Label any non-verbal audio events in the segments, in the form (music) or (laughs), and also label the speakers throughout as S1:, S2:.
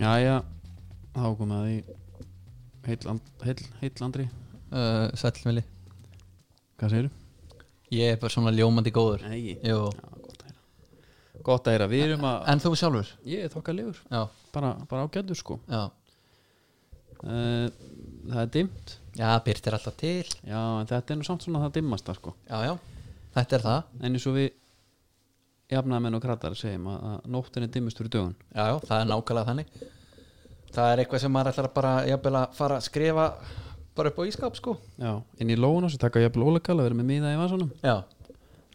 S1: Jæja, þá komum við að því heill, and, heill, heill Andri,
S2: uh, Sællmili
S1: hvað segirðu?
S2: Ég er bara svona ljómandi góður
S1: Nei
S2: Jú.
S1: Já, gott að heyra Gott að heyra, við erum að
S2: En þú sjálfur?
S1: Ég er þokkalegur,
S2: Já,
S1: bara, bara ágættur sko
S2: já
S1: uh, Það er dimmt
S2: Já, byrtir alltaf til
S1: Já, en þetta er nú samt svona það dimmasta sko
S2: Já, já, þetta er það
S1: En eins og við jafnaðamenn og kratar segjum að, að nóttin er dimmist fyrir dögun
S2: Já, já, það er nákvæmlega þannig Það er eitthvað sem maður ætlar að bara jafnvel að fara að skrifa bara upp á ískap sko
S1: Já, inn í lóun á sig taka jafnvel ólekal að vera með miða í vasanum
S2: Já,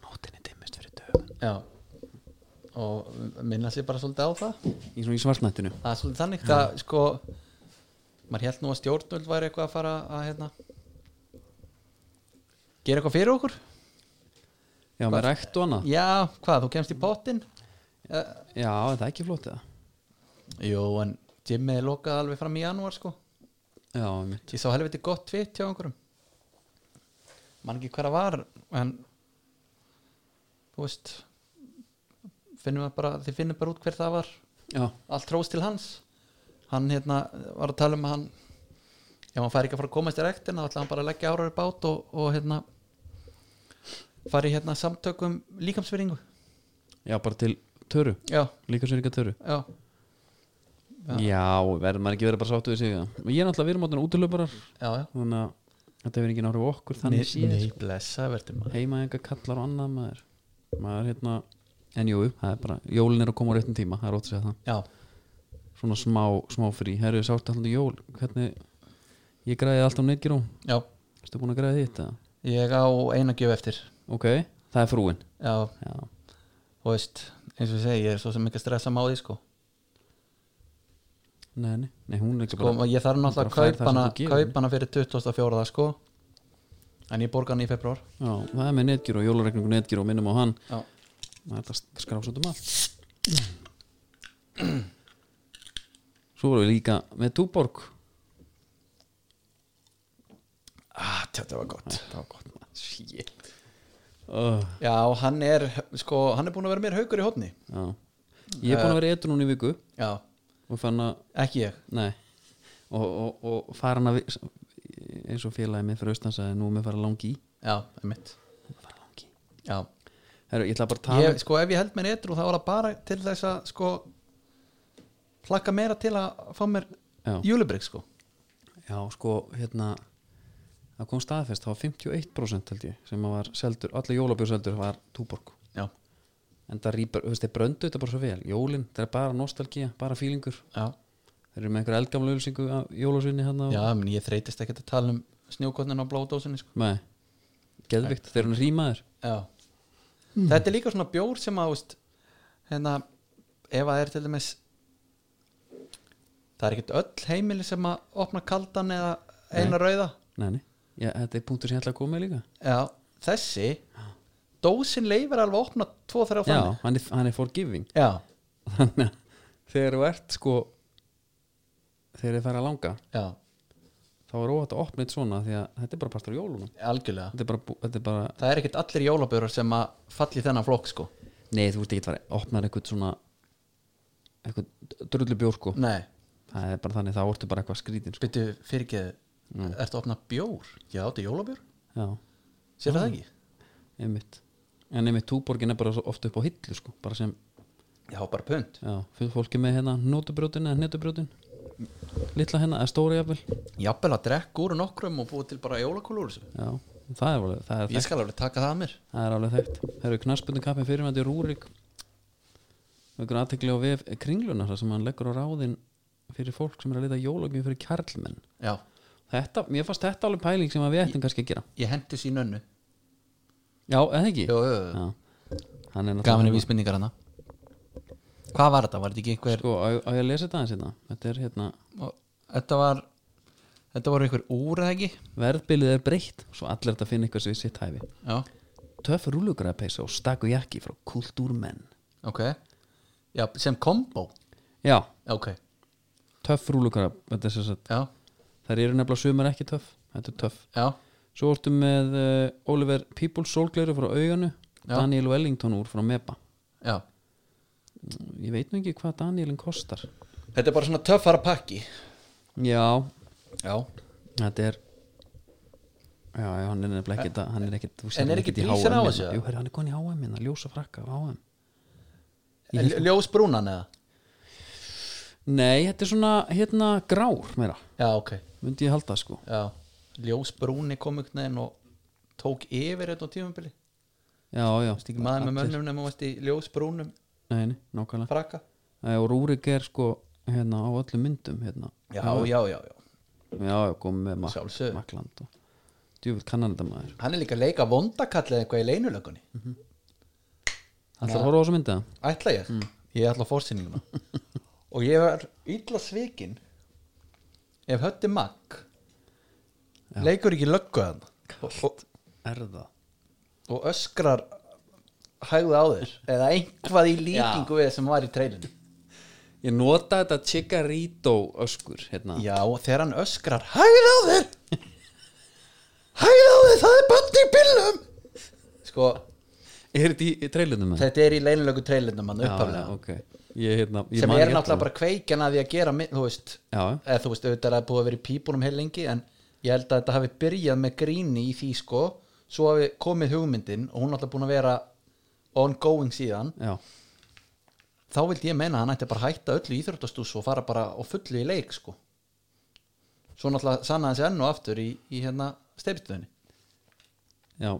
S1: Nóttin er dimmist fyrir dögun
S2: já Og minna sér bara svolítið á það
S1: Í svona í svartnættinu
S2: Það er svolítið þannig Það sko Maður held nú að stjórnvöld væri eitthvað að fara að hérna Gera eitthvað fyrir okkur
S1: Já, með rækt og annað
S2: Já, hvað, þú kemst í Eh, pottin
S1: Já, þetta er ekki flott eða
S2: Jú, en Jimmy er lokað alveg fram í janúar sko
S1: Já, einmitt.
S2: Ég sá helviti gott tvitt hjá einhverjum Man ekki hver að var En Þú veist Finnum við bara, þið finnum bara út hver það var
S1: já,
S2: Allt rós til hans Hann hérna var að tala um að hann Ef hann fær ekki að fara að komast í rektina Þá ætla hann bara að leggja árar upp át og, og hérna Fari hérna samtökum líkamsveringu
S1: já, bara til töru
S2: Já,
S1: Líka sér ekki að töru
S2: já Já.
S1: Já, verður maður ekki verið bara sáttu við sig það Ég er náttúrulega, við erum áttunum útilöparar
S2: Já, já
S1: Þannig að þetta hefur engin áhrif á okkur Þannig séð
S2: Nei,
S1: sko.
S2: blessa verður maður
S1: Heima enga kallar og annað maður Maður hérna En jú, það er bara, jólin er að koma á réttum tíma Það er ótt að segja það
S2: Já,
S1: Svona smá, smá frí Herru, sátt alltaf jól Hvernig, ég græði alltaf neitgir og
S2: já
S1: Erstu búin að græði þetta?
S2: Ég á eina gjöf eftir
S1: Ok, það er frúin
S2: Já,
S1: Já,
S2: þú veist, eins og ég segi, ég er svo sem ekki að stressa má því sko.
S1: nei, nei, nei hún er ekki
S2: sko
S1: bara
S2: Ég þarf
S1: bara
S2: náttúrulega
S1: fær
S2: að
S1: það
S2: kaupa
S1: sem
S2: hana,
S1: þú gefur henni.
S2: kaup hana fyrir 24. sko En ég borga hana í februar
S1: Já, það er með neitgir og jólareikningu neitgir og minnum á hann
S2: Já,
S1: Það er þetta skrásatum allt Svo vorum við líka með Túborg
S2: ah, þetta var gott
S1: Það var gott maður
S2: Shit.
S1: oh,
S2: Já, hann er, sko, hann er búin að vera mér haukur í hófni
S1: Ég er búin að vera etur núna í viku
S2: Já,
S1: og fann að,
S2: ekki ég
S1: nei og, og, og fara hann að vi- eins og félagið minn fyrir austan sagði nú er mér að fara langi í
S2: Já, einmitt
S1: fara langi í
S2: Já,
S1: Heru, Ég ætla bara að tala
S2: ég, sko, ef ég held mér eitru þá var það bara til þess að, sko plakka meira til að fá mér
S1: Já.
S2: júlibrygg, sko
S1: Já, sko, hérna það kom staðfest, það var 51% held ég sem að var seldur, allir jólabjóð seldur var Túborg
S2: Já,
S1: en það rýpar, þú veist, þeir bröndu þetta bara svo vel jólin, það er bara nostalgía, bara fílingur
S2: já
S1: þeir eru með einhverja eldgamla ölsingu af jólasunni hann
S2: Já, menn ég þreytist ekkert að tala um snjókotnin á blóðdósinni sko.
S1: nei, geðvikt, þeir eru rýmaður
S2: Já Þetta er líka svona bjór sem að veist, hérna, ef að er til dæmis það er ekkert öll heimili sem að opna kaldan eða eina rauða
S1: nei, nei, Já, þetta er punktur sem ég ætla að koma með líka
S2: Já, þessi dósin leifir alveg að opna tvo þrjá
S1: já,
S2: þannig
S1: hann er, hann er forgiving (laughs)
S2: Já,
S1: þannig að þegar þú ert sko þegar þið færa að langa
S2: já,
S1: þá er óhætt að opna eitt svona því að þetta er bara partur á jólunum
S2: algjörlega
S1: þetta er bara, bú- þetta er bara
S2: Það er ekkert allir jólabjórar sem að falli í þennan flokk sko
S1: nei, þú ert ekki að fara að opna eitthvað svona eitthvað drullubjór sko
S2: Nei,
S1: það er bara þannig, þá ertu bara eitthvað skrítin sko.
S2: byrju fyrirgeðu Ertu að opna bjór? Mm. Já, þetta er jólabjór Mm.
S1: já
S2: Sér það ekki?
S1: einmitt en einmitt túborgin er bara svo oft upp á hillu sko, bara sem,
S2: Já, bara punt
S1: já, fyrir fólki með hérna nótubrjótin eða netubrjótin litla hérna, eða stóra jafnvel
S2: Jafnvel að drekka úr nokkrum og búið til bara jólakúlu úr þessu
S1: já, það er alveg það er
S2: Ég
S1: þekkt,
S2: skal alveg taka það að mér
S1: það er alveg þekkt það eru knarsbundin kappin fyrir með þetta rúrik einhver aðtekli á vef kringlunar sem hann leggur á ráðin fyrir fólk sem er að lita jólagjöf fyrir kjarlmenn
S2: Já,
S1: þetta, mér fannst þetta alveg pæling sem að við ættum kannski að gera
S2: ég hendi þessu í nönnu
S1: já, eða ekki
S2: Jú, jú, jú.
S1: já, hann er náttúrulega-
S2: Gaf henni vísbendingar hana Hvað var þetta? Var þetta ekki einhver
S1: sko, á, á ég að lesa þetta aðeins hérna þetta er hérna
S2: Sko- Þetta var Þetta var einhver úr eða ekki
S1: Verðbilið er breytt svo allir þetta finna eitthvað sem við sitt hæfi
S2: Já,
S1: Töff rúlugræðpeysa og stakku jakki frá kultúrmenn
S2: ok Já, sem kombo
S1: Já,
S2: Ok,
S1: töff rúlugræð þetta er sem sagt,
S2: já,
S1: þær eru nefnilega sumar ekki töff þetta er töff
S2: já
S1: Svo ertu með uh, Oliver Peoples sólgleru frá auganu Daniel Wellington úr frá Meba
S2: Já,
S1: Ég veit nú ekki hvað Danielin kostar
S2: Þetta er bara svona töffara pakki
S1: já,
S2: Já
S1: þetta er já, já, hann er nefnilega ekkit að- hann er ekkit, þú sér
S2: En er
S1: hann
S2: ekki
S1: ekkit í HM
S2: blísan á
S1: hérna.
S2: þessu, eða?
S1: jú, heyrðu, hann er konið í HM hérna, ljósa frakka á HM
S2: Ljós brúnan eða?
S1: nei, þetta er svona, hérna, grár meira,
S2: Já, ok
S1: myndi ég halda sko
S2: Já Ljós brúni kom ykkur neginn og tók yfir þetta á tímabili
S1: já, já,
S2: Stík maður með mönnum nema varst í ljós brúnum
S1: nei, nei, nákvæmlega
S2: frakka
S1: Æ, og Rúrik er sko, hérna, á öllum myndum hérna,
S2: Já, já, já, já
S1: já, já kom með Mak
S2: Sjálfsögðu.
S1: Makland og djúvill kannan þetta maður
S2: Hann er líka að leika vondakall eða eitthvað í leinulökunni
S1: Það er að horfa á þessu mynda
S2: Ætla ég? Ég ætla að fórsýninguna Og ég var illa svikin Ef hötti makk Leikur ekki löggu hann og,
S1: Er það?
S2: og öskrar hægðu á þér Eða einhvað í líkingu við sem var í treilinu
S1: Ég nota þetta Chigarito öskur hérna.
S2: Já, og þegar hann öskrar Hægðu á þér Hægðu á þér, það er bandi í bílnum Sko,
S1: Er þetta í, í treilinu með?
S2: þetta er í leinulögu treilinu mann upphaflega
S1: Já, ok. ég, hérna, ég
S2: sem
S1: man
S2: er
S1: ekki
S2: náttúrulega
S1: eftir
S2: bara kveikjan að því að gera mynd, þú veist,
S1: Já.
S2: eða þú veist, auðvitað er það búið að vera í pípunum heil lengi en ég held að þetta hafi byrjað með gríni í því sko, svo hafi komið hugmyndin og hún er náttúrulega búin að vera ongoing síðan,
S1: það. Já,
S2: þá vildi ég meina að hann ætti bara að hætta öllu íþróttastús og fara bara og fullu í leik sko svo náttúrulega sanna hans enn og aftur í, í hérna stefnstöðinni
S1: já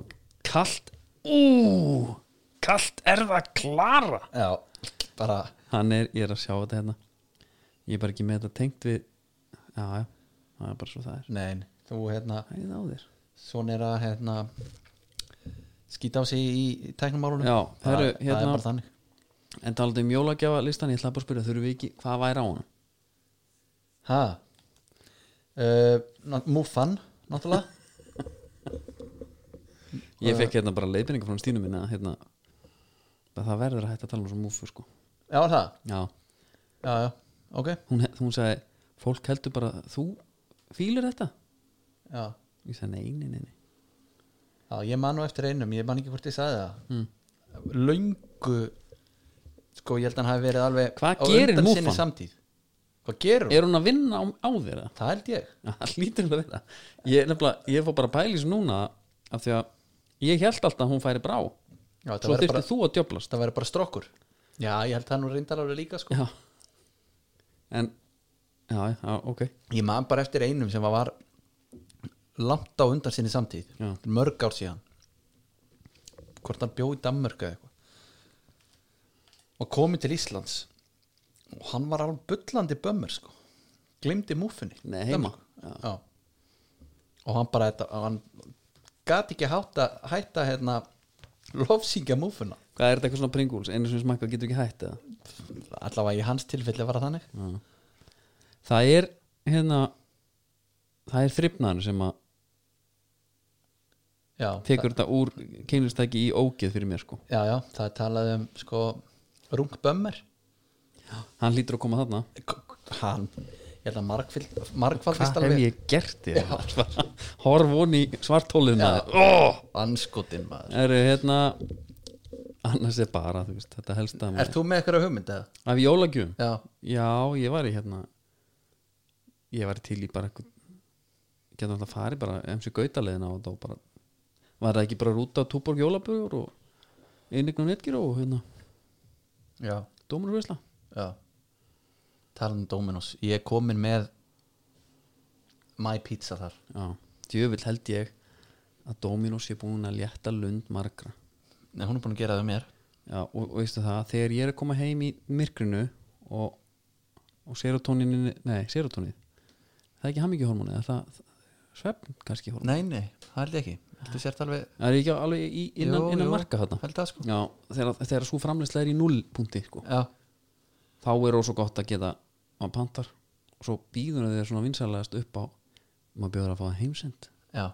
S1: Kalt Ú, kalt er það klara
S2: Já, bara,
S1: Hann er, ég er að sjá þetta hérna Ég er bara ekki með þetta tengt við Já, já, það er bara svo það er
S2: nein, þú hérna
S1: Það er á þér
S2: svona er að hérna skýta á sig í, í tæknumálunum
S1: Já,
S2: það,
S1: herru,
S2: það
S1: hérna-
S2: er bara þannig
S1: En talandi um jólagjafa listan, ég ætla bara að spyrja Þurfum við ekki, hvað væri á hann?
S2: Ha uh, ná- Múfan, náttúrulega
S1: Ég fekk hérna bara leiðbendinga frá Stínu minna hérna, að það verður að hætta að tala um svo múfu sko.
S2: Já, er það,
S1: Já,
S2: já, já, ok
S1: hún, hún sagði fólk heldur bara, þú fýlur þetta?
S2: Já,
S1: Ég sagði nei, nei, nei, nei.
S2: já ég man nú eftir einum Ég man ekki hvort ég sagði það
S1: Hmm.
S2: Löngu Sko, ég held að hann hafi verið alveg
S1: Hvað
S2: á
S1: gerir
S2: undan
S1: múffan?
S2: sinni samtíð Hvað gerir hún?
S1: Er hún að vinna á, á þér? eða?
S2: Það held ég
S1: Já, Það lítur hún að vera Ég, nefnilega, ég fór bara að pæli þessu núna af því að ég held alltaf að hún færi brá
S2: já, það
S1: Svo
S2: væri
S1: þyrfti
S2: bara,
S1: þú að djöflast
S2: Það væri bara strokkur Já, ég held að hann nú reyndar alveg líka sko
S1: Já En, já, já, ok
S2: Ég man bara eftir einum sem var langt á undan sinni samtíð
S1: Já.
S2: mörg ár síðan hvort hann bjó í Danmörku eða eitthvað og komið til Íslands og hann var alveg bullandi bömmur sko glimdi múfinni
S1: Nei, heima.
S2: já. og hann bara þetta, hann gat ekki hátta, hætta hérna lofsingja múfuna
S1: Hvað er þetta eitthvað svona pringúls? Einu sem smakka getur ekki hætt eða?
S2: allavega í hans tilfelli var það þannig
S1: Það er, hérna Það er þrifnaður sem að
S2: já,
S1: tekur þetta úr kynlistæki í ógeð fyrir mér sko
S2: það, já, já, það er talað um sko rungbömmur
S1: Hann hlýtur að koma þarna
S2: hann ég held að margfald- margfaldist
S1: Hvað hef
S2: alveg
S1: ég gert þér? annars? Bara (laughs) Horf von í svartólið maður
S2: oh! anskotin maður
S1: Eru hérna Annars er bara, þú veist, þetta helst að
S2: er þú með eitthvað hugmynd eða?
S1: Af jólagjum
S2: já,
S1: Já, ég var í hérna Ég var til í bara eitthvað Getum alltaf farið bara MC Gautaleðina og þá bara Var það ekki bara rúta á Túborg jólabugur og Einign og Netgir og hérna
S2: já,
S1: Dómurveisla
S2: já talan um Dominos, ég er komin með my pizza þar
S1: Já, djöfull held ég að Dominos sé búin að létta lund margra
S2: Nei, hún er búin að gera það með mér
S1: Já, og, og veistu það, þegar ég er að koma heim í myrkrinu og, og serotonin nei, serotonin það er ekki hammingjuhormóni, er það svefn kannski hormóni,
S2: nei, nei, það held ég ekki Heldur sért alveg
S1: það er ég ekki alveg í, innan,
S2: Jú,
S1: innan
S2: jú,
S1: marka þarna
S2: held það sko
S1: Já, þegar, þegar svo framleysla er í nullpunti sko.
S2: já,
S1: þá er ós og gott að geta maður pantar og svo býður þeir svona vinsælegast upp á maður bjóður að fá það heimsend
S2: já,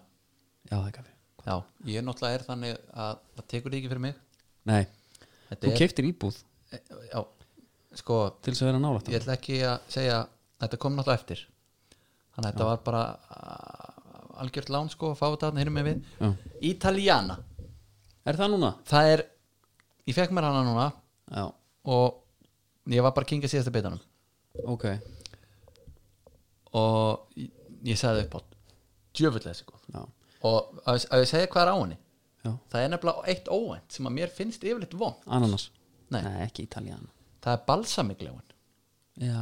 S1: Já, það er kaffi
S2: já ég náttúrulega er þannig að það tekur þig ekki fyrir mig
S1: Nei,
S2: þetta
S1: þú keiftir íbúð
S2: er já, sko,
S1: til þess að vera nálægt
S2: ég ætla ekki að segja þetta kom náttúrulega eftir þannig að þetta var bara a- algjört lán sko að fá þetta hérna með við
S1: Já.
S2: Italiana,
S1: Er það núna?
S2: það er ég fekk mér hana núna
S1: Já,
S2: og ég var bara að kinga síðasta bitanum
S1: ok,
S2: og ég, ég sagði upp á djöfull er þessi góð
S1: já,
S2: og að, að ég segja hvað er á henni
S1: já
S2: það er nefnilega eitt óvænt sem að mér finnst yfirleitt von
S1: Ananas,
S2: Nei.
S1: ekki Italiano
S2: það er balsamigljóin
S1: Já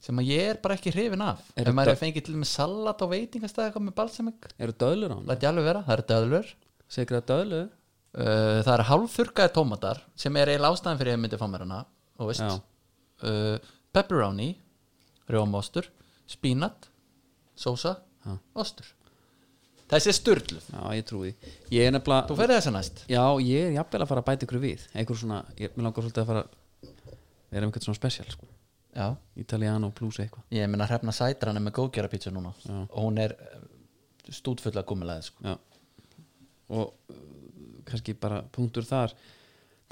S2: sem að ég er bara ekki hrifin af
S1: Er
S2: ef maður
S1: þetta-
S2: er fengið til með salat og veitingastæð eitthvað með balsamig,
S1: Eru döðlur á hann?
S2: læt ég alveg vera, það eru döðlur
S1: Segir það döðlur?
S2: uh, það eru hálfþurkaði tómatar sem er eiginlega ástæðan fyrir að ég myndi fá mér hana og veist
S1: Já.
S2: uh, pepperoni, rjómaostur spínat, sósa
S1: Já.
S2: ostur þessi er styrluf,
S1: Já, ég trúi því Ég er nefnilega
S2: þú ferði þessa næst
S1: Já, ég er jafnvel að fara að bæta ykkur við einhver svona, ég, mér langar svolítið að fara vera með eitthvað svona special sko.
S2: já,
S1: Italiano plus eitthvað
S2: ég meina hrefna sætran er með góðgera pítsu núna
S1: Já.
S2: og hún er eh, stútfull að gummilaði sko.
S1: Já. og uh, kannski bara punktur þar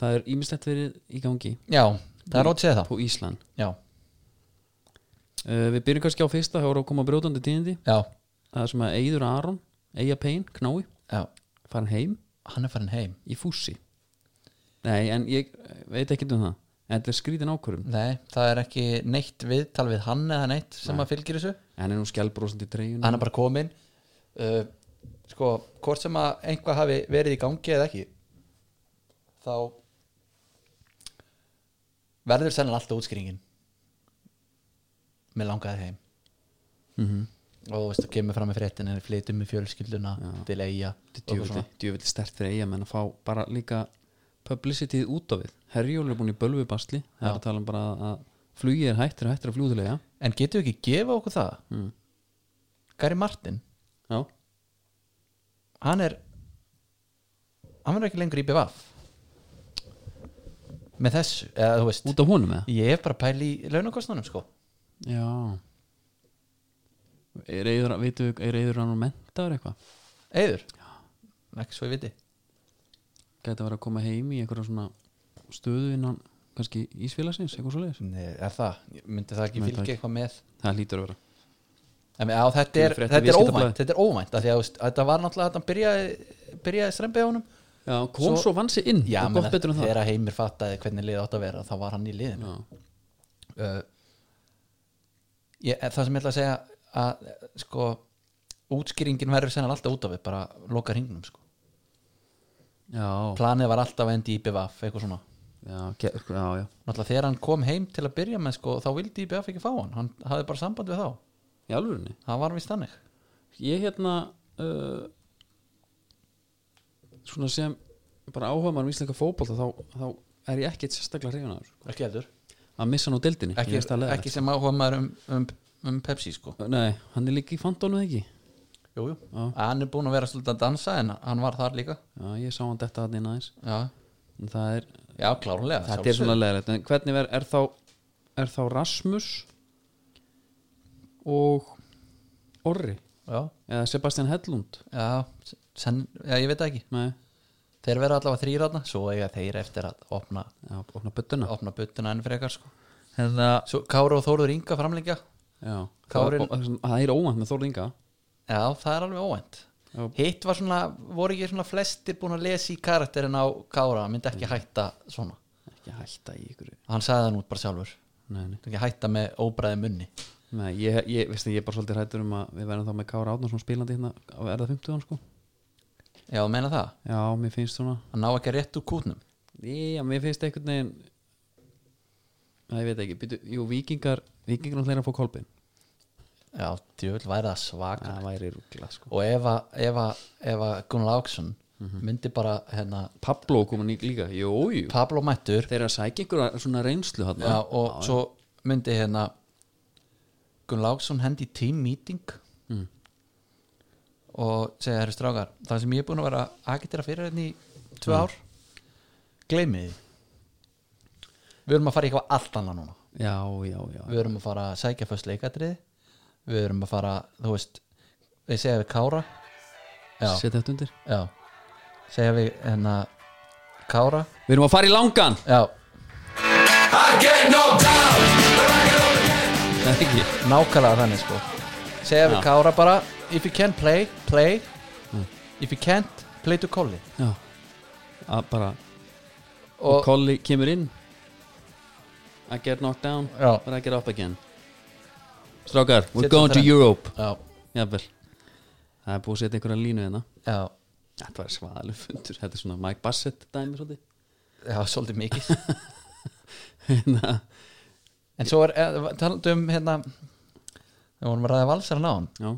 S1: það er ímislegt verið í gangi
S2: já, það er ótt segið það
S1: på Ísland
S2: já,
S1: uh, Við byrjum kannski á fyrsta, það voru að koma brjótandi tíðindi
S2: já,
S1: það er sem að Eyður Aron, Eyja Pein, Knái
S2: já
S1: farin heim
S2: hann er farin heim
S1: í fússi Nei, en ég veit ekki um það en þetta er skrítin ákvörum
S2: Nei, það er ekki neitt viðtal við hann eða neitt sem að fylgir þessu
S1: en er nú skjálbrósandi treyjun
S2: hann er bara komin uh, sko, hvort sem að einhvað hafi verið í gangi eða ekki þá verður sennilega alltaf útskýringin með langaði heim
S1: mm -hmm.
S2: og þú veist, það kemur fram með fréttin en flytum með fjölskylduna
S1: Já.
S2: til eiga
S1: djöfulli, djöfulli stert fyrir eiga menn að fá bara líka publicityð út á við Herjól er búin í bölvubasli það er
S2: Já.
S1: að tala um bara að flugið er hættir og hættir að fljóðulega
S2: en getum við ekki gefa okkur það
S1: mm.
S2: Gary Martin,
S1: já,
S2: hann er hann verður ekki lengur í BVF með þessu, eða þú veist
S1: út af honum eða
S2: ég er bara að pæla í launakostnunum sko
S1: já er eður, veitu, er eður hann að menta eitthvað
S2: Eður? Ekki svo ég viti
S1: gæti að vera að koma heim í einhverja svona stöðu innan kannski ísfélagsins, eitthvað svo leiðis
S2: Nei, er það? Ég Myndi það ekki
S1: Nei,
S2: fylgja
S1: takk.
S2: eitthvað með?
S1: það hlýtur að vera
S2: Emi, á, þetta, er,
S1: Fyrir fréttir
S2: þetta er
S1: Viðskiptablaðið.
S2: óvænt Þetta er óvænt af því að, þú veist, Þetta var náttúrulega að hann byrjaði, byrjaði strempið á honum
S1: já, kom
S2: Svo-
S1: svo, svo vansi inn
S2: Já,
S1: og
S2: menn
S1: gott betur en það
S2: þegar heimir fattaði hvernig liðið átt að vera þá var hann í liðinu
S1: já,
S2: uh, ég, Það sem ég ætla að segja að eh, sko útskýringin verður sennan alltaf út af við bara loka hringnum sko
S1: já,
S2: Planið var alltaf að endi í BVF eitthvað svona
S1: já, ge- já, já.
S2: Náttúrulega þegar hann kom heim til að byrja með sko þá vildi IBF ekki fá hann, hann hafði bara samband við þá
S1: í alvörunni
S2: Það var vist þannig
S1: ég hérna uh, svona sem bara áhuga maður um íslenska fótbolta þá, þá er ég ekkert sérstaklega hrifin af þessu.
S2: Ekki heldur
S1: að missa hann á deildinni
S2: Ekki,
S1: ég veist það leiðilegt.
S2: ekki sem áhuga maður um, um, um Pepsi sko
S1: nei, hann er líka í fandónu ekki
S2: Jú, jú
S1: Já.
S2: Hann er búin að vera svolítið að dansa en hann var þar líka
S1: já, ég sá hann detta hann inn aðeins
S2: Já,
S1: en það er,
S2: já klárlega
S1: þetta er
S2: sjálfsögðu.
S1: svona leðilegt en hvernig er, er þá er þá Rasmus og Orri
S2: Já,
S1: eða Sebastian Hellund
S2: já, sen, já, ég veit það ekki
S1: nei,
S2: Þeir vera allavega þrýratna Svo eiga þeir eftir að opna,
S1: já, opna buttuna
S2: opna buttuna enn frekar sko
S1: hérna,
S2: Svo Káru og Þóruður Inga framlengja
S1: já,
S2: Kárin-
S1: það, það er óvænt með Þórð Inga
S2: Já, það er alveg óvænt
S1: Já.
S2: Hitt var svona, voru ekki svona flestir búin að lesa í karakterin á Kára hann myndi ekki hætta svona
S1: ekki hætta í ykkur
S2: Hann sagði það nú bara sjálfur
S1: nei, nei.
S2: Myndi ekki hætta með óbræði munni
S1: Nei, ég, ég, veistu, ég er bara svolítið hrættur um að við verðum þá með Kára Átnarsson spilandi hérna á erða 50 sko.
S2: Já, þú meina það
S1: Já, mér finnst svona
S2: Hann ná ekki rétt úr kútnum
S1: Já, mér finnst einhvern veginn Það ég veit ekki, býtu, jú, vikingar vikingar náttúrulega að fá kolbin
S2: Já, djöfull væri það svaka
S1: Það væri rúgla, sko
S2: Og ef að, ef að, ef að Gunnar Láksson myndi bara hérna,
S1: Pablo komin í líka, jú, jú
S2: Pablo Mættur
S1: Þeir eru að sækja einhverja svona reynslu hann
S2: já, og svo myndi hérna Gunnar Láksson hendi í team meeting
S1: Mm.
S2: og segja herri strákar það sem ég er búin að vera að agitera fyrir hérna í tvö ár gleymið því Við erum að fara í eitthvað allt annað núna
S1: já, já, já,
S2: við erum að fara að sækja fyrst leikadrið við erum að fara, þú veist við segja við Kára já,
S1: setja þetta undir
S2: já segja við hennar Kára,
S1: Við erum að fara í langan,
S2: já,
S1: það er ekki
S2: nákvæmlega þannig sko segja við
S1: Já.
S2: Kára bara if you can play, play if you can't, play to Colli
S1: Já, að bara,
S2: og
S1: Kolli kemur inn I get knocked down,
S2: Já.
S1: but I get up again Strákar, we're
S2: Setjum
S1: going
S2: hérna.
S1: to
S2: þennan.
S1: Europe
S2: já,
S1: Jafnvel Það er búið að setja einhverja línu hérna
S2: já,
S1: Þetta var svaðaleg fundur, þetta er svona Mike Bassett dæmi svolítið (laughs)
S2: já, svolítið mikið
S1: Hérna,
S2: en svo er, eh, talandi um hérna við vorum að ræða valsar hann á hann
S1: Já,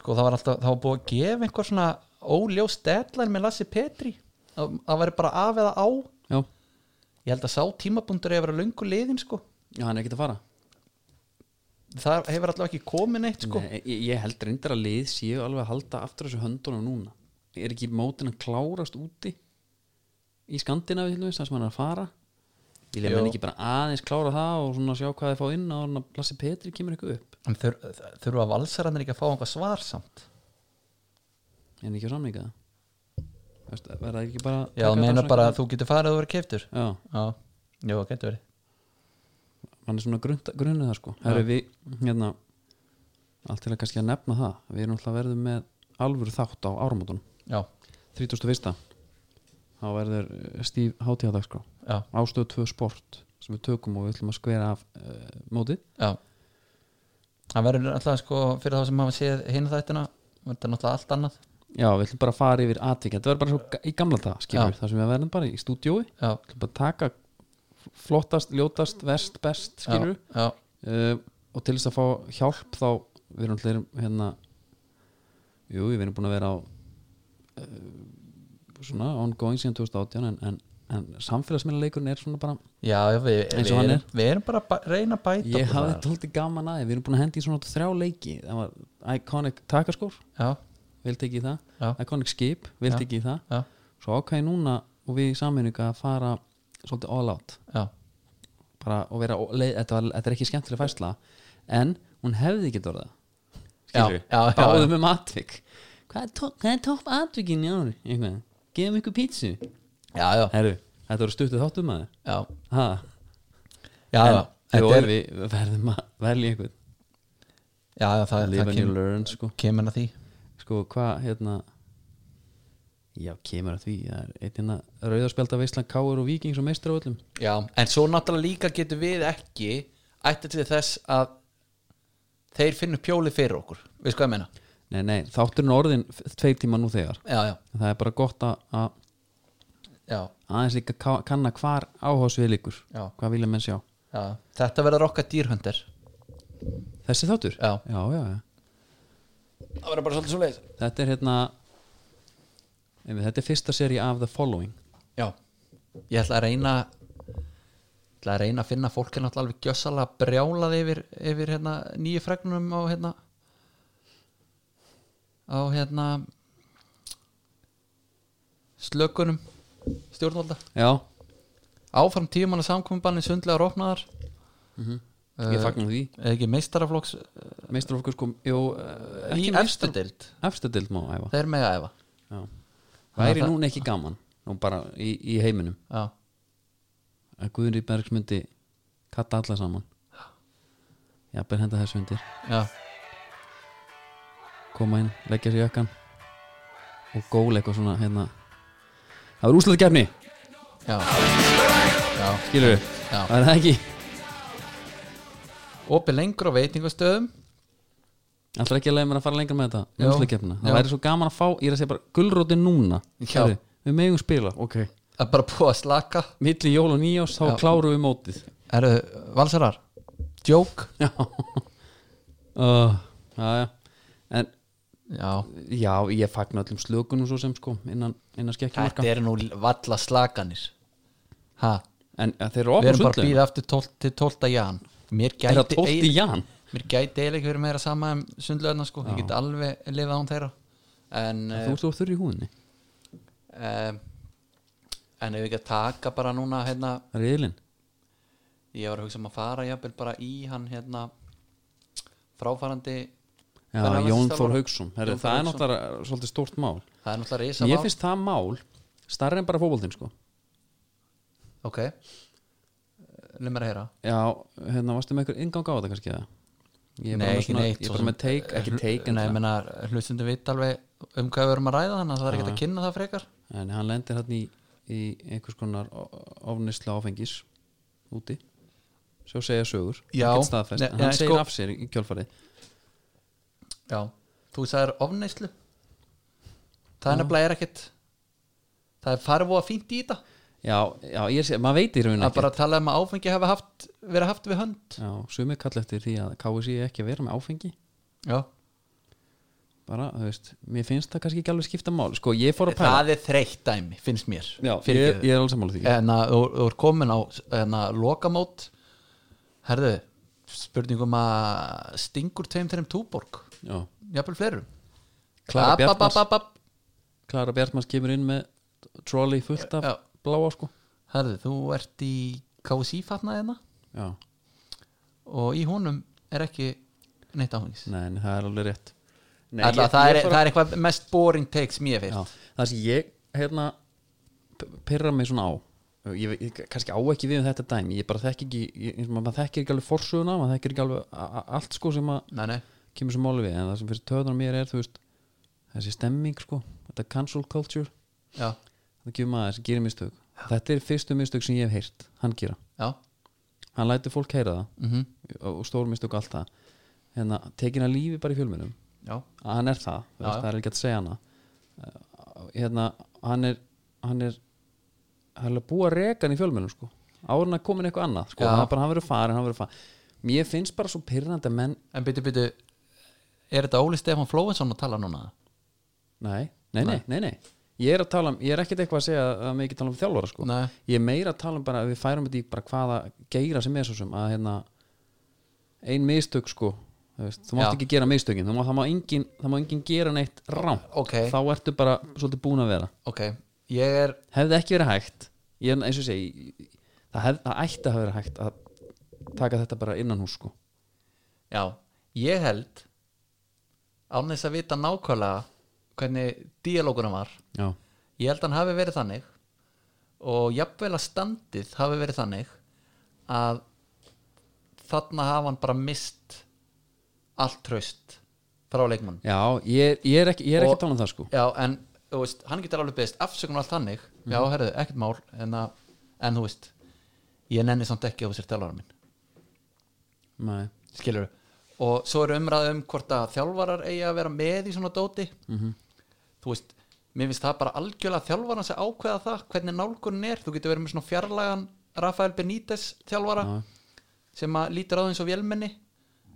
S2: sko það var alltaf, það var búið að gefa einhver svona óljós deadline með Lassi Petri það, það væri bara af eða á
S1: já,
S2: ég held að sá tímabundur hefur verið löngu liðin sko
S1: já, hann er ekkert að fara
S2: það hefur alltaf ekki komið neitt sko
S1: Nei, ég, ég held reyndar að lið séu alveg að halda aftur þessu höndunum núna Er ekki mótin að klárast úti í Skandinavi til þess að sem hann er að fara Vilja
S2: Jú.
S1: menn ekki bara aðeins klára það og svona sjá hvað þið fá inn á hann að Lassi Petri kemur eitthvað upp
S2: En þur, þurfa valsarannir ekki að fá einhvað svar samt
S1: En ekki á samninga Veist, verða ekki bara að taka
S2: Já, það
S1: þetta
S2: meina
S1: svona-
S2: bara að þú getur farið og verið keiftur
S1: Já,
S2: Já, já, getur verið
S1: hann er svona grunnt- grunnið það sko Herri, við, hérna, Allt til að kannski að nefna það Við erum alltaf verðum með alvöru þátt á áramótunum
S2: Já,
S1: 31. þá verður eh, stíf hátíðadagskrá
S2: já,
S1: ástöðu tvö sport sem við tökum og við ætlum að skvera af uh, mótið
S2: já Það verður alltaf sko fyrir þá sem hafa séð hinn þættina Þetta er náttúrulega allt annað
S1: já, við ætlum bara að fara yfir atvík þetta verður bara svo ga- í gamla daga, skilur við þar sem við verðum bara í stúdíói, við
S2: Já,
S1: ætlum bara að taka f- flottast, ljótast, verst, best skilur við,
S2: já,
S1: uh, og til þess að fá hjálp þá við erum allir hérna jú, við erum búin að vera á uh, svona ongoing síðan 2018 en, en, en samfélagsmiðlaleikurinn er svona bara
S2: já, já við,
S1: Eins
S2: við,
S1: og hann
S2: erum,
S1: er.
S2: við erum bara að bæ- reyna að bæta
S1: Ég
S2: okkur
S1: hafði
S2: þar.
S1: tólti gaman aðeins, við erum búin að hendi í svona þrjá leiki, það var Iconic takaskór,
S2: Já,
S1: vildi ekki í það
S2: já,
S1: Iconic skip, vildi ekki í það
S2: já,
S1: svo ákvæði núna og við í sammenninga að fara svolítið all out
S2: já,
S1: bara og vera, ó- leið, þetta, var, þetta er ekki skemmtileg fæsla en hún hefði ekki orðað skilur
S2: Já, já, já, já.
S1: báðum um atvik hvað er, to hvað er topp atvikin í ári einhvern, gefum ykkur pítsu
S2: já, já,
S1: Herru, þetta voru stuttið þáttum að
S2: já,
S1: það
S2: já, já.
S1: en,
S2: Þetta
S1: er,
S2: er,
S1: við verðum að velja einhvern
S2: já, já, það,
S1: live
S2: það
S1: and you
S2: kemur,
S1: learn sko
S2: kemur að því
S1: sko hvað hérna já kemur að því það er eitt hérna rauðarspjálta veistlan Káur og Víkings og meistra öllum
S2: Já, en svo náttúrulega líka getur við ekki ætti til þess að þeir finnum pjóli fyrir okkur við sko að menna
S1: nei nei þátturinn er orðin f- tveir tíma nú þegar
S2: já, já,
S1: það er bara gott að- að
S2: já,
S1: aðeins líka ká- kanna hvar áhásvið líkur
S2: já,
S1: hvað vilja menn sjá
S2: já. þetta verður okkar dýrhöndir
S1: þessi þáttur
S2: Já.
S1: já já, já.
S2: það verður bara svolítið svo leið
S1: þetta er hérna einmitt, þetta er fyrsta seri af The Following
S2: já, ég ætla að reyna ætla að reyna að finna fólki náttúrulega alveg gjössalega brjálað yfir, yfir hérna, nýju fregnum á hérna á hérna slökunum stjórnvalda
S1: já
S2: áfram tíumanna samkominbanni sundlegar opnaðar Eh,
S1: ég fagnar því
S2: eða ekki meistaraflokks uh,
S1: meistra okkur sko jú, eh,
S2: í
S1: ekki
S2: efstu
S1: meistra
S2: deild
S1: efstu dild má æfa
S2: það er mega efa
S1: já
S2: Það
S1: væri
S2: er það-
S1: núna ekki gaman nú bara í, í heiminum
S2: já,
S1: að Guðunri Bergs myndi kalla alla saman já, ber henda þessu undir
S2: já,
S1: koma inn, leggja sér jakkan og góla eitthvað svona hérna það var úslega gefni,
S2: já, já,
S1: skilur við
S2: Já.
S1: það er það ekki,
S2: opið lengur á veitingastöðum
S1: alltaf ekki að leiða mér að fara lengra með
S2: Já.
S1: þetta úslega gefna,
S2: Já.
S1: það væri svo gaman að fá ég er að segja bara, gullrótin núna
S2: Já.
S1: Heyrðu, við megum spila, ok
S2: að bara búa að slaka
S1: milli jól og nýjás, þá
S2: Já.
S1: klárum við mótið
S2: eru valsarar, djók
S1: (laughs) já uh, já, já en
S2: já,
S1: já, ég fagna öllum slökunum svo sem sko, innan, innan skekkjumarka
S2: þetta eru nú valla slakanir ha,
S1: En að þeir eru
S2: við
S1: opnum
S2: erum bara að
S1: sundlegina
S2: býða aftur 12, til 12. jan mér
S1: Er það
S2: gæti
S1: 12.
S2: eiginlega-
S1: jan?
S2: mér gæti eiginlega ekki verið meira sama um sundlegarna sko, ég get alveg lifað án þeirra en
S1: Þú ert svo þurr í húðinni
S2: um, eh, en ef við ekki að taka bara núna hérna,
S1: Riðlin
S2: ég var að hugsa um að fara jafnvel bara í hann hérna fráfarandi
S1: Já,
S2: Hvenær var
S1: Jón
S2: síðasta
S1: Þór
S2: voru?
S1: Hauksson Herri,
S2: Jón Þór
S1: Það er
S2: Hauksson.
S1: náttúrulega uh, svolítið stórt mál
S2: það er náttúrulega risa
S1: Ég finnst það mál starri en bara fótboltinn sko
S2: ok, leið mér að heyra
S1: Já, hérna varstu með einhver ingang á þetta kannski eða? Ég er bara
S2: Nei,
S1: með
S2: ekki
S1: svona-
S2: neitt,
S1: Ég er
S2: svo
S1: bara
S2: sem. hérna,
S1: með teik, ekki teik en
S2: Nei,
S1: það-
S2: menna, hlustundum vit alveg um hvað við erum að ræða þannig að það er ekki að kynna það frekar
S1: sko. En hann lendir hann í, í einhers konar ofnisla áfengis úti svo segja sögur
S2: Já.
S1: Ekkert staðfest,
S2: Nei,
S1: en hann
S2: nei,
S1: segir
S2: sko-
S1: af sér í kjálfarið
S2: Já, þú sagðir ofneislu Það er
S1: Já.
S2: nefnilega er ekkit Það er farfóa fínt í þetta
S1: já, já, ég sé, maður veit í raun
S2: Það er
S1: ekki
S2: bara að tala um að áfengi hafi haft, verið haft við hönd
S1: já, sumir kalla eftir því að KSI ekki að vera með áfengi
S2: Já,
S1: bara, þú veist, mér finnst það kannski ekki alveg skipta mál, sko, ég fór að pæla
S2: það er þreytt dæmi, finnst mér
S1: já, ég,
S2: Fyrirgefðu.
S1: ég er alveg sammála því
S2: en að þú þú ert komin á en að lokamót herðu, spurningum að stingur tveim þeirrim túborg
S1: já.
S2: jafnvel fleirum
S1: Klara
S2: App, app,
S1: Bjartmans.
S2: app, app, app.
S1: Klara Bjartmanns kemur inn með trolley fullt af
S2: Já.
S1: bláa, sko
S2: herðu, þú ert í KSI fatnaðina
S1: já,
S2: og í honum er ekki neitt áfengis
S1: nei, en það er alveg rétt nei,
S2: Alla, það, er, það er eitthvað mest boring takes mér
S1: Já,
S2: fyrst
S1: það sem ég hérna pyrra mig svona á ég, veit- ég kannski á ekki við um þetta dæmi ég bara þekki ekki, ég, eins og maður þekkir ekki alveg forsöguna, maður þekkir ekki alveg a- a- allt sko sem að
S2: nei, nei.
S1: kemur sem máli við en það sem fyrir töðunar mér er, þú veist þessi stemming sko, þetta cancel culture
S2: Já,
S1: það gefur maður sem gerir mistök þetta er fyrstu mistök sem ég hef heyrt, hann gera
S2: já.
S1: hann lætur fólk heyra það
S2: Mm
S1: og og stór mistök og allt það hérna, tekin að lífi bara í fjölmennum
S2: já
S1: að hann er það, þú
S2: Já,
S1: veist,
S2: já.
S1: það er ekki að segja hana Uh, hérna, hann er hann er hann er búið að reka hann í fjölmennum sko áður en að komin eitthvað annað sko,
S2: Já.
S1: hann, er bara, hann verður farin, hann verður farin mér finnst bara svo pyrrandi að menn
S2: en byttu, byttu er þetta Óli Stefán Flóinsson að tala núna
S1: nei, nei, nei, nei, nei ég er að tala um, ég er ekkert eitthvað að segja að mig ekki tala um þjálfara sko,
S2: Nei.
S1: ég er meira að tala um bara að við færum þetta í bara hvaða geira sem er svo sem að hérna ein mistök sko, þú veist, þú mátt
S2: Já.
S1: ekki gera mistökin, þú mátt, það má engin það má engin gera neitt rám
S2: Ok.
S1: þá ertu bara svolítið búin að vera
S2: ok, ég er
S1: hefði ekki verið hægt ég, er eins og ég segi, það, hef, það ætti að hafa verið hægt að taka þetta bara innan hús sko.
S2: Já, ég held án þess að vita nákvæmlega hvernig díalógunum var
S1: já,
S2: ég held að hann hafi verið þannig og jafnvel að standið hafi verið þannig að þarna hafa hann bara mist allt traust frá leikmann
S1: já ég, ég er ekki, ég er ekki
S2: Og-
S1: að tala um það sko.
S2: Já, en þú veist, hann getur alveg beðist afsökunum allt þannig Já, herðu, ekkert mál en, að, en þú veist, ég nenni samt ekki á þessir þjálfarar minn
S1: Nei.
S2: skilur og svo eru umræðu um hvort að þjálfarar eigi að vera með í svona dóti
S1: Mhm.
S2: -hmm. þú veist, mér finnst það bara algjörlega þjálfaran sem ákveða það hvernig nálgunin er, þú getur verið með svona fjarlægan Rafael Benítez þjálfara
S1: Já.
S2: sem að lítur á það eins og vélmenni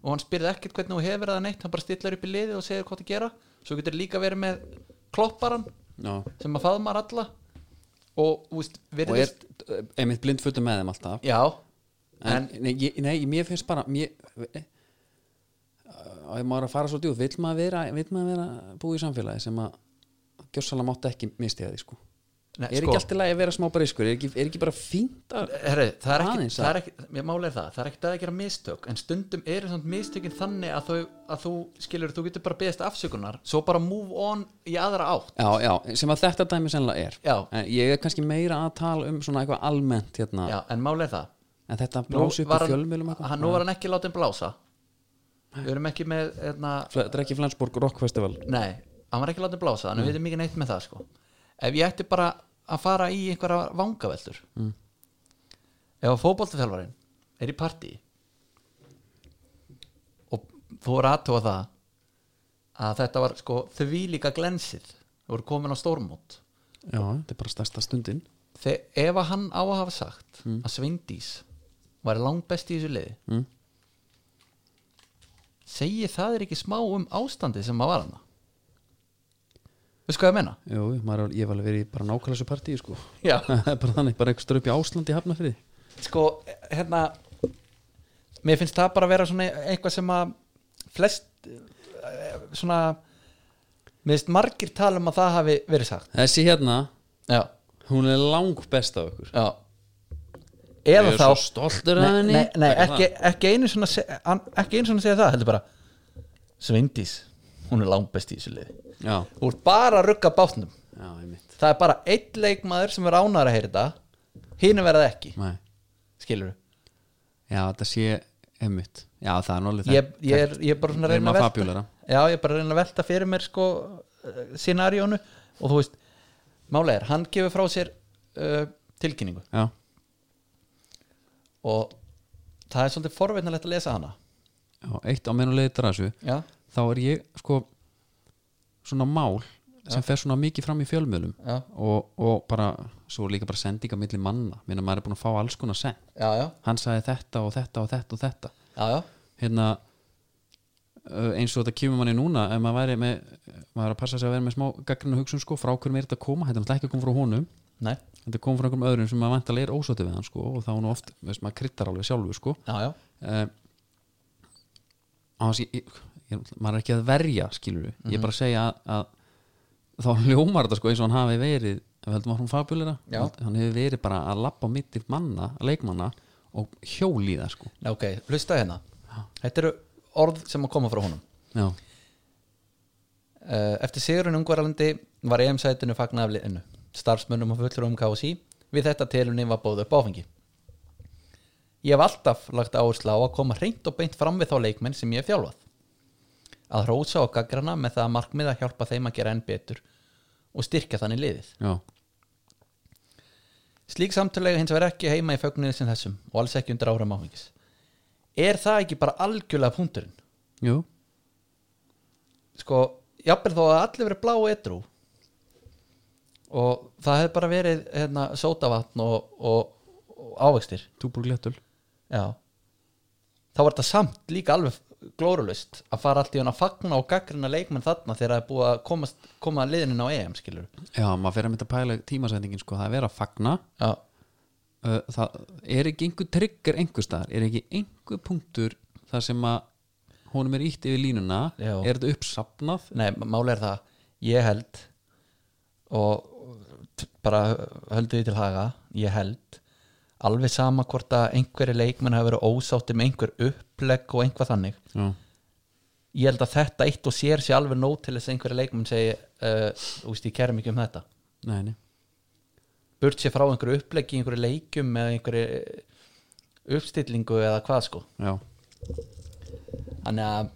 S2: og hann spyrði ekkert hvernig þú hefur það neitt hann bara stillar upp í liðið og segir hvað það gera svo getur líka verið með klopparan
S1: já.
S2: sem að faðmar alla og, þú veist,
S1: og er
S2: virðist
S1: eh, einmitt blindfutur með þeim alltaf
S2: já,
S1: en,
S2: en,
S1: nei, ég, nei, mér finnst bara mér, eh, að maður er að fara svo djúð vill maður vera, vill maður vera búið í samfélagi sem að gjössalega mátt ekki mistiða því sko.
S2: Nei,
S1: er
S2: sko.
S1: ekki allt í lagi að vera smá briskur er ekki, er ekki bara fínt að
S2: Herri, það er ekki,
S1: Aðeins að-
S2: það er ekki, mér máli er það, það er ekki að gera mistök en stundum eru samt mistökin þannig að þú, að þú skilur, þú getur bara beðist afsökunar svo bara move on í aðra átt
S1: Já, já, sem að þetta dæmi sennilega er
S2: Já.
S1: En ég er kannski meira að tala um svona eitthvað almennt hérna
S2: Já, en máli er það
S1: En þetta
S2: Nú
S1: blási upp
S2: var
S1: í fjölmjölum
S2: hann, hann, Nú var hann ekki látið blása Við erum ekki með, hérna,
S1: Þetta er ekki Flensborg Rock Festival
S2: nei, hann var ekki látið blása þannig við erum ekki neitt með það sko Ef ég ætti bara að fara í einhverja vangaveldur mm. Ef að fótboltaþjálfarinn er í partí og fór aðtóa það að þetta var sko því líka glensið það voru komin á stórmót
S1: Já, þetta er bara stærsta stundin
S2: þegar ef að hann á að hafa sagt að Svindís var langbest í þessu liði
S1: Mm.
S2: segi það er ekki smá um ástandið sem maður var hann veistu hvað ég menna?
S1: Jú, jú, maður, er- ég var alveg verið í bara nákvæmlega þessu partí sko. (laughs)
S2: Já.
S1: Það er bara þannig, bara einhver störu upp í Ásland í Hafnafriði
S2: sko, hérna mér finnst það bara að vera svona eitthvað sem að flest eh, svona mér finnst margir tala um að það hafi verið sagt
S1: Þessi hérna,
S2: já,
S1: hún er lang best af ykkur
S2: já eða
S1: Ég er
S2: þá
S1: svo stoltur af
S2: Nei,
S1: henni.
S2: nei, nei
S1: Taka
S2: ekki, ekki, einu svona, se- hann- ekki einu svona segja það heldur bara Svindís, hún er langbest í þessu liði
S1: Já,
S2: þú ert bara að rugga bátnum
S1: já, einmitt
S2: það er bara einn leikmaður sem er ánæður að heyra þetta hinn verða ekki,
S1: Nei.
S2: skilur
S1: Já, þetta sé einmitt Já, það er nálega
S2: ég, ég, er, ég er bara svona að reyna að velta
S1: fabjúlara
S2: já, ég er bara að reyna að velta fyrir mér sko scenaríónu og þú veist, málega er, hann gefur eh, frá sér uh, tilkynningu
S1: Já,
S2: og það er svolítið forveitnilegt að lesa hana
S1: Já, eitt á menn og leiði drasu
S2: já,
S1: þá er ég sko svona mál sem fer svona mikið fram í fjölmiðlum
S2: já,
S1: og, og bara, svo er líka bara sendinga milli manna, minna maður er búin að fá alls konar send
S2: já, já,
S1: hann sagði þetta og þetta og þetta og þetta
S2: já, já.
S1: hérna uh, eins og þetta kemur manni núna ef maður væri með, maður er að passa sig að vera með smá gaggrinu hugsun sko, frá hverjum er þetta að koma þetta er náttúrulega ekki að koma frá honum,
S2: nei
S1: þetta kom frá einhverjum öðrum sem maður vantarlega er ósóti við hann sko og þá er nú oft, veist maður kryttar alveg sjálfur sko
S2: já, já,
S1: uh, hans, ég, ég, ég, maður er ekki að verja skilur við, ég er bara að segja að, að þá ljómar þetta sko eins og hann hafi verið ef við heldum að hún fabulera
S2: Já.
S1: hann hefur verið bara að lappa mittir manna leikmanna og hjóli það sko
S2: Nei, ok, hlusta hérna þetta eru orð sem að koma frá honum
S1: já,
S2: Eh, Eftir sigurinn Ungvaralandi var EM-sætinu fagna af liðinu starfsmönnum og fullur um KSI við þetta telunni var bóð upp áfengi Ég hef alltaf lagt áherslu á að koma hreint og beint fram við þá leikmenn sem ég hef þjálfað að hrósa og gaggrana með það að markmið að hjálpa þeim að gera enn betur og styrkja þannig liðið
S1: já,
S2: Slík samtölega hins verð ekki heima í fögnuði sem þessum og alls ekki undir áram áfengis Er það ekki bara algjörlega punkturinn?
S1: jú
S2: sko, jafnvel þó að allir verið blá edru og það hefði bara verið hérna, sótavatn og, og, og ávegstir
S1: túbúr glettul
S2: já þá var þetta samt líka alveg glórulust að fara allt í hann að fagna og gaggrina leikmenn þarna þegar það er búið að komast, koma liðinin á EM skilur
S1: já, maður fer að mynda að pæla tímasendingin sko það er verið að fagna
S2: já,
S1: uh, það er ekki einhver trigger einhver staðar, er ekki einhver punktur þar sem að honum er ítt yfir línuna,
S2: Já.
S1: er þetta uppsapnað
S2: nei, máli er það ég held og t- bara höldu því til haga ég held alveg sama hvort að einhverju leikmenn hafa verið ósátti með einhver upplegg og einhvað þannig
S1: já,
S2: ég held að þetta eitt og sér sé alveg nót til þess að einhverja leikmenn segi uh, úst, ég kærum ekki um þetta
S1: nei, nei
S2: burt sér frá einhverju uppleggi, í einhverju leikum eða einhverju uh, uppstillingu eða hvað sko
S1: Já,
S2: þannig að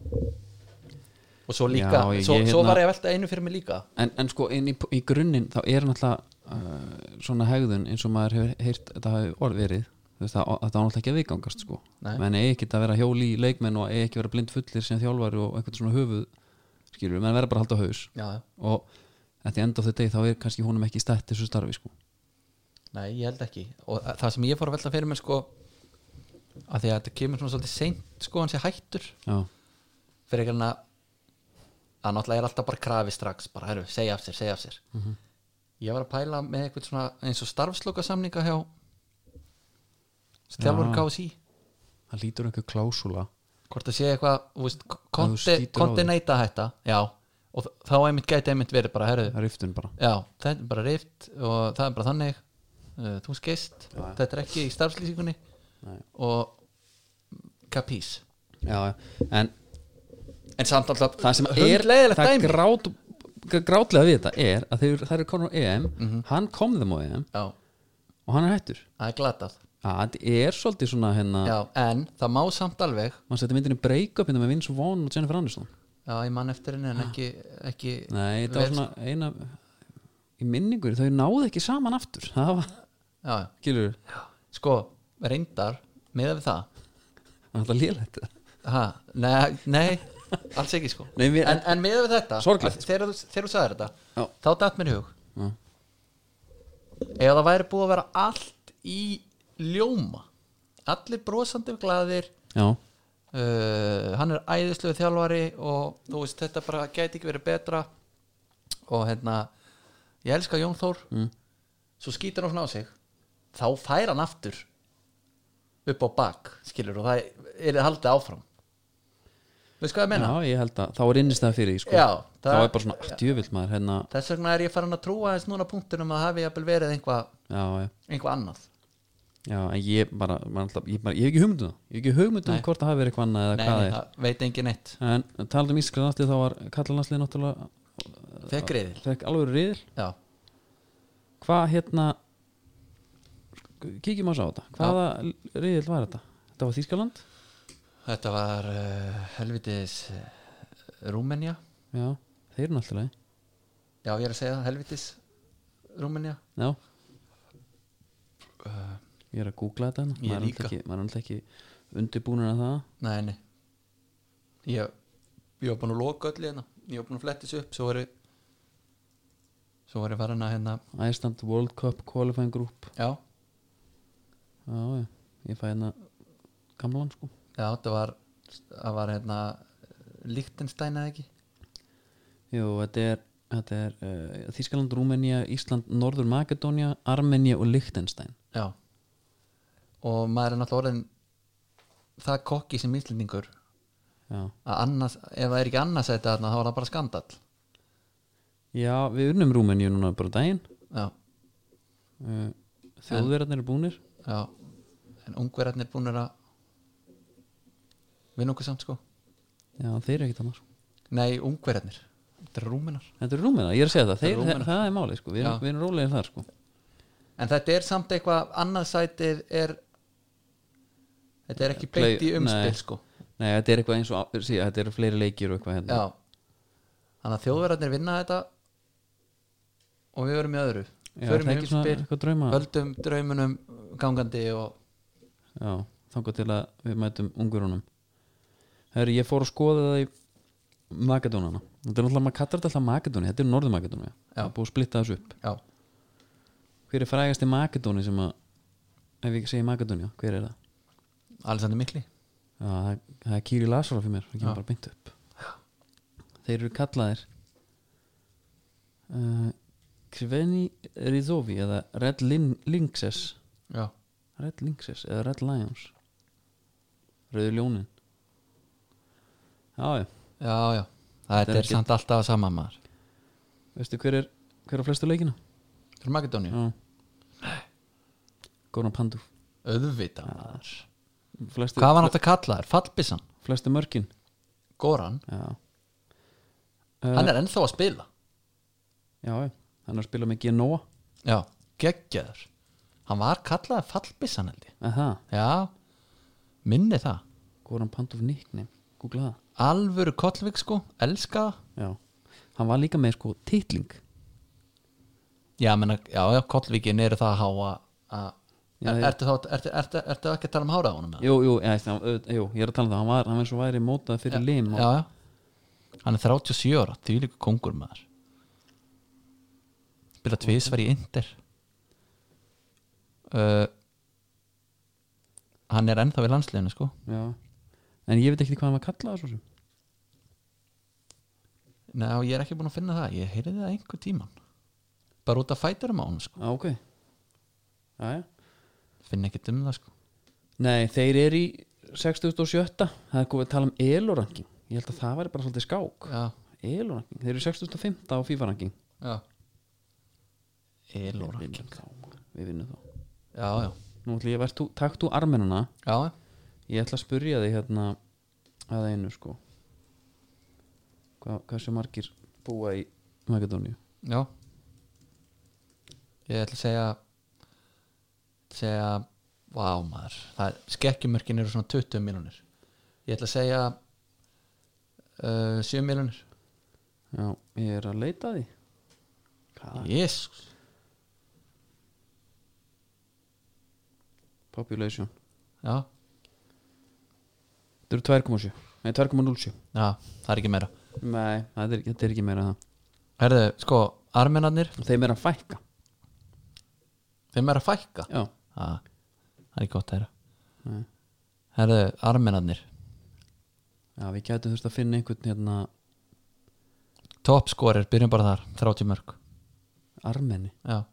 S2: og svo líka,
S1: Já, ég-
S2: svo,
S1: ég
S2: svo
S1: hérna-
S2: var ég að velta einu fyrir mig líka
S1: en, en sko inn í, í grunninn þá er náttúrulega uh, svona hegðun eins og maður hefur heyrt þetta hafi orð verið þú veist, það, það á náttúrulega ekki að viðgangast sko
S2: Nei.
S1: menn eigi ekki að vera hjóli í leikmenn og eigi ekki að vera blind fullir sem þjálfari og einhvern svona höfuð skilur, menn verða bara að halda haus
S2: já,
S1: og þetta enda á þau degi þá er kannski honum ekki stætt þessu starfi sko
S2: nei, ég held ekki og uh, það sem ég fór að velta fyrir mig sko að því að þetta kemur svona svolítið seint sko hann sé hættur
S1: Já,
S2: fyrir ekki hann að að náttúrulega er alltaf bara krafi strax bara, herru, segja af sér, segja af sér
S1: Mhm.
S2: ég var að pæla með eitthvað svona eins og starfsloka samninga hjá þjálfur
S1: Já.
S2: KSI
S1: það lítur einhver klásula
S2: hvort það sé eitthvað, þú veist,
S1: Að þú slítur á
S2: konti
S1: þig.
S2: neita þetta já, og þ- þá einmitt gæti einmitt verið bara, herru,
S1: riftun bara
S2: já, þetta er bara rift og það er bara þannig uh, þú skeist, þetta er ekki í starfslýsingunni
S1: Nei.
S2: og kapís
S1: Já, já. en
S2: en samt alltaf
S1: það sem er
S2: hundleiðilegt
S1: það
S2: dæmi
S1: grát, grátlega við þetta er að þeir, það eru konur á EM hann kom þeim á EM
S2: já,
S1: og hann er hættur
S2: það er glatað
S1: Já, þetta er svolítið svona hérna
S2: Já, en það má samt alveg
S1: mann setja myndinu break up hérna með Vince Vaughn og Jennifer Aniston
S2: Já, ég mann eftir henni en ekki, ekki
S1: Ah. Nei, þetta var
S2: vel-
S1: svona eina í minningur, þau náðu ekki saman aftur (laughs) það var,
S2: Já, já.
S1: gilur við
S2: sko, reyndar meða við það
S1: það var lélegt
S2: ha, nei, nei, alls ekki sko
S1: Nei, mér-
S2: En, en meða við þetta
S1: Sorglegt. sko.
S2: að Þegar, þú- þegar þú sagðir þetta,
S1: Já.
S2: þá datt mér í hug
S1: Já.
S2: Ef það væri búið að vera allt í ljóma Allir brosandi glæðir
S1: Já,
S2: uh, Hann er æðisluðu þjálfari og þú veist, þetta bara gæti ekki verið betra og hérna ég elska Jón Þór
S1: Mm.
S2: svo skýtur hann svona á sig þá fær hann aftur upp á bak, skilur og það er það haldið áfram veist hvað ég meina?
S1: já ég held að þá er innistæða fyrir því sko.
S2: Já,
S1: þá
S2: það-
S1: er bara svona allt jövill maður hérna,
S2: þess vegna er ég farin að trúa þess núna punktinum að hafi jafnvel verið einhvað
S1: já, já,
S2: einhva annað
S1: já en ég bara, man, alltaf, ég, bara ég hef ekki hugmyndum það, ég hef ekki hugmyndum
S2: Nei.
S1: hvort það hafi verið eitthvað annað eða
S2: Nei,
S1: hvað það er
S2: það veit engin neitt
S1: en talað um ískra náttúrulega þá var kallar náttúrulega náttúrulega,
S2: fekk reyðil
S1: fekk alveg riðil
S2: já,
S1: hvað hérna kíkjum að sá þetta hvaða riðil var þetta? Þetta var Þýskaland?
S2: þetta var uh, helvitis uh, Rúmenja
S1: Já, þeir eru náttúrulega
S2: já, ég er að segja það, helvitis Rúmenja
S1: Já Ég er að googla þetta hérna
S2: Ég
S1: Maður er
S2: líka.
S1: hérna. náttúrulega ekki, maður er náttúrulega ekki undirbúnir að það
S2: Nei, nei Ég, ég var búin að loka öll hérna Ég var búin að flettis upp Svo var ég Svo var ég farin að hérna
S1: Iceland World Cup Qualifying Group
S2: Já,
S1: Já, já, ég fæ hérna gamlan sko
S2: já það var Það var hérna Lichtenstein eða ekki
S1: Jú, þetta er, þetta er uh, Þískaland, Rúmenía, Ísland, Norður Makedónia Armenía og Liechtenstein
S2: Já Og maður er náttúrulega orðin Það kokki sem íslendingur
S1: Já,
S2: Að annars, ef það er ekki annars þetta þarna Þá var það bara skandall
S1: já við unnum Rúmeníu núna bara á daginn
S2: Já,
S1: uh, Þjóðverðarnir eru búnir
S2: já En ungverðarnir búinir að Vinna okkur samt sko
S1: Já, þeir eru ekkit annars
S2: Nei, ungverðarnir Þetta er rúminar
S1: Þetta eru Rúmenar, ég er að segja það,
S2: Þetta
S1: þeir,
S2: eru Rúmenar.
S1: það, það er máli sko Við
S2: Já.
S1: erum, við erum rólegir þar sko
S2: En þetta er samt eitthvað annað sætið er Þetta er ekki
S1: Play-
S2: beint í umspil
S1: nei.
S2: sko
S1: Nei, þetta er eitthvað eins og á- sí, þetta eru fleiri leikir og eitthvað hérna.
S2: Já Þannig að þjóðverðarnir vinna þetta og við verum í öðru
S1: Já,
S2: Förum
S1: það
S2: í
S1: er ekki svona
S2: umspil,
S1: eitthvað drauma
S2: höldum draumunum gangandi og
S1: Já, þangar til að við mætum ungurunum Herri, ég fór að skoða það í Makedónana Þetta er náttúrulega, maður kallar þetta alltaf Makedóni Þetta er Norður Makedóni,
S2: Já.
S1: það er búið að splitta þessu upp
S2: já,
S1: Hver er frægasti Makedóni sem að Ef ég segi Makedóni, hver er það?
S2: Alessandi Mikli
S1: Já, það, það er Kýri Lasarov fyrir mér Það
S2: Já.
S1: kemur bara beint upp Þeir eru kallaðir uh, Kveni Rizovi eða Red Lin Lynxes
S2: Já,
S1: Red Lynxes eða Red Lions Rauður Ljónin Já, já,
S2: já, já Þetta
S1: er
S2: er,
S1: ekki-
S2: samt alltaf sama maður
S1: veistu hver er hver er á flestu leikina?
S2: Þetta er Makedóníu,
S1: Já Góna Pandu
S2: auðvitað maður
S1: Flestu,
S2: Hvað var nátt að kalla þér? Fallbissan,
S1: flestu mörkin
S2: Goran
S1: Já Eh,
S2: Hann er ennþá að spila
S1: Já, já, hann er að spila með Genoa
S2: Já, geggjaður Hann var kallaði fallbissan held ég
S1: Aha,
S2: Já, minni það
S1: Goran Panduf nickname, googla það
S2: Alvöru Kollvik sko, elska það.
S1: Já, hann var líka með sko titling
S2: Já, menna, já, já, Kollvikin eru það að háa að
S1: Já,
S2: er,
S1: já.
S2: ertu, þá, ertu, ertu, ertu ekki að tala um hárað honum eða?
S1: Jú, jú, ég, jú, ég er að tala um það Hann var, hann var eins og væri mótað fyrir lim og,
S2: Já, já Hann er 37 ára, því líka kongur maður Bila tvisvar í Inder uh, Hann er ennþá við landsliðinu sko
S1: já. En ég veit ekki hvað hann var kallað svo sem
S2: Ná, ég er ekki búin að finna það Ég heyrði það einhver tíman Bara út af fæturum á hann sko
S1: Já, ok Jæja.
S2: Finn ekki um það sko
S1: Nei, þeir eru í 67 Það er komið að tala um eloranking Ég held að það væri bara svolítið skák
S2: Já,
S1: Eloranking, þeir eru í 65 á FIFA-ranking
S2: já Elora
S1: Við vinnum þá Við vinnum þá
S2: Já, já,
S1: Nú ætla ég að verð takt úr armenuna
S2: já já.
S1: Ég ætla að spurja þig hérna að einu sko Hva, Hversu margir búa í Makedóníu?
S2: Já Ég ætla að segja segja Vá maður, það skekkjumörkin eru svona 20 miljonir Ég ætla að segja uh, 7 miljonir
S1: Já, ég er að leita að því Hvað?
S2: Jésús
S1: Population
S2: Já,
S1: Þetta eru 2,7 Nei, 2,07
S2: já, það er ekki meira
S1: Nei, þetta er, þetta er ekki meira en það
S2: Herðu, sko, armenarnir
S1: Þeim er að fækka
S2: þeim er að fækka
S1: Já,
S2: Já, það er ekki gott að heyra
S1: Nei.
S2: Herðu, armenarnir
S1: Já við gætum þurft að finna einhvern hérna
S2: Topscorer, byrjum bara þar, 30 mörg
S1: Armeni
S2: Já,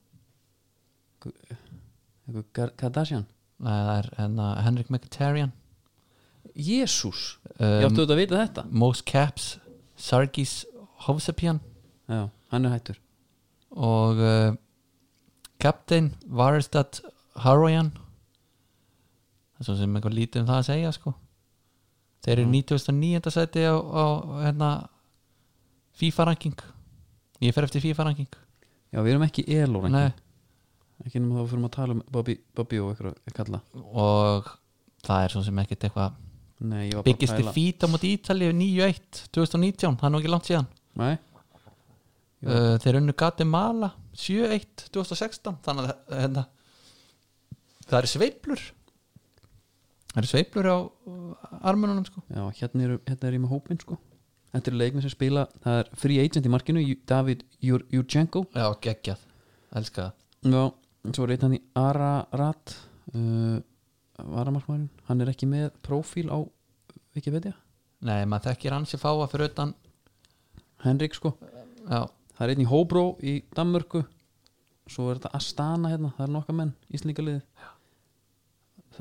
S1: einhver Gar- Kardashian
S2: Nei, það er hennar Henrik Mkhitaryan
S1: Jésús Ég
S2: um,
S1: áttu auðvitað að vita þetta
S2: Most Caps Sargis Hovsepian
S1: Já, hann er hættur
S2: og uh, Captain Varistad Haroyan það er svo sem eitthvað lítið um það að segja sko þeir eru 99. seti á, á hérna FIFA ranking ég fer eftir FIFA ranking
S1: Já, við erum ekki elor
S2: Nei,
S1: Ekki nema þá fyrir að tala um Bobby, Bobby og eitthvað að kalla
S2: og það er svo sem ekkert eitthvað
S1: Nei, ég var bara
S2: byggisti fýta mot Ítali 9-1 2019, það er nú ekki langt síðan
S1: Nei, Já.
S2: uh, þeir unnu Guatemala 7-1 eh, 2016 þannig að hérna, það eru sveiplur það eru sveiflur á armununum sko
S1: Já, hérna er, hérna er ég með hópin sko Þetta eru leikmenn sem spila, það er free agent í markinu Ju- David Jur- Jurchenko
S2: já, geggjað, elska það
S1: Já, svo er einn hann í Ararat uh, Varamarkmærin, hann er ekki með prófíl á Wikipedia,
S2: nei, maður þekkir hans ég fáa fyrir utan
S1: Henrik sko
S2: já,
S1: Það er einn í Hobro í Danmörku Svo er þetta Astana hérna, það er nokka menn Íslendingaliði,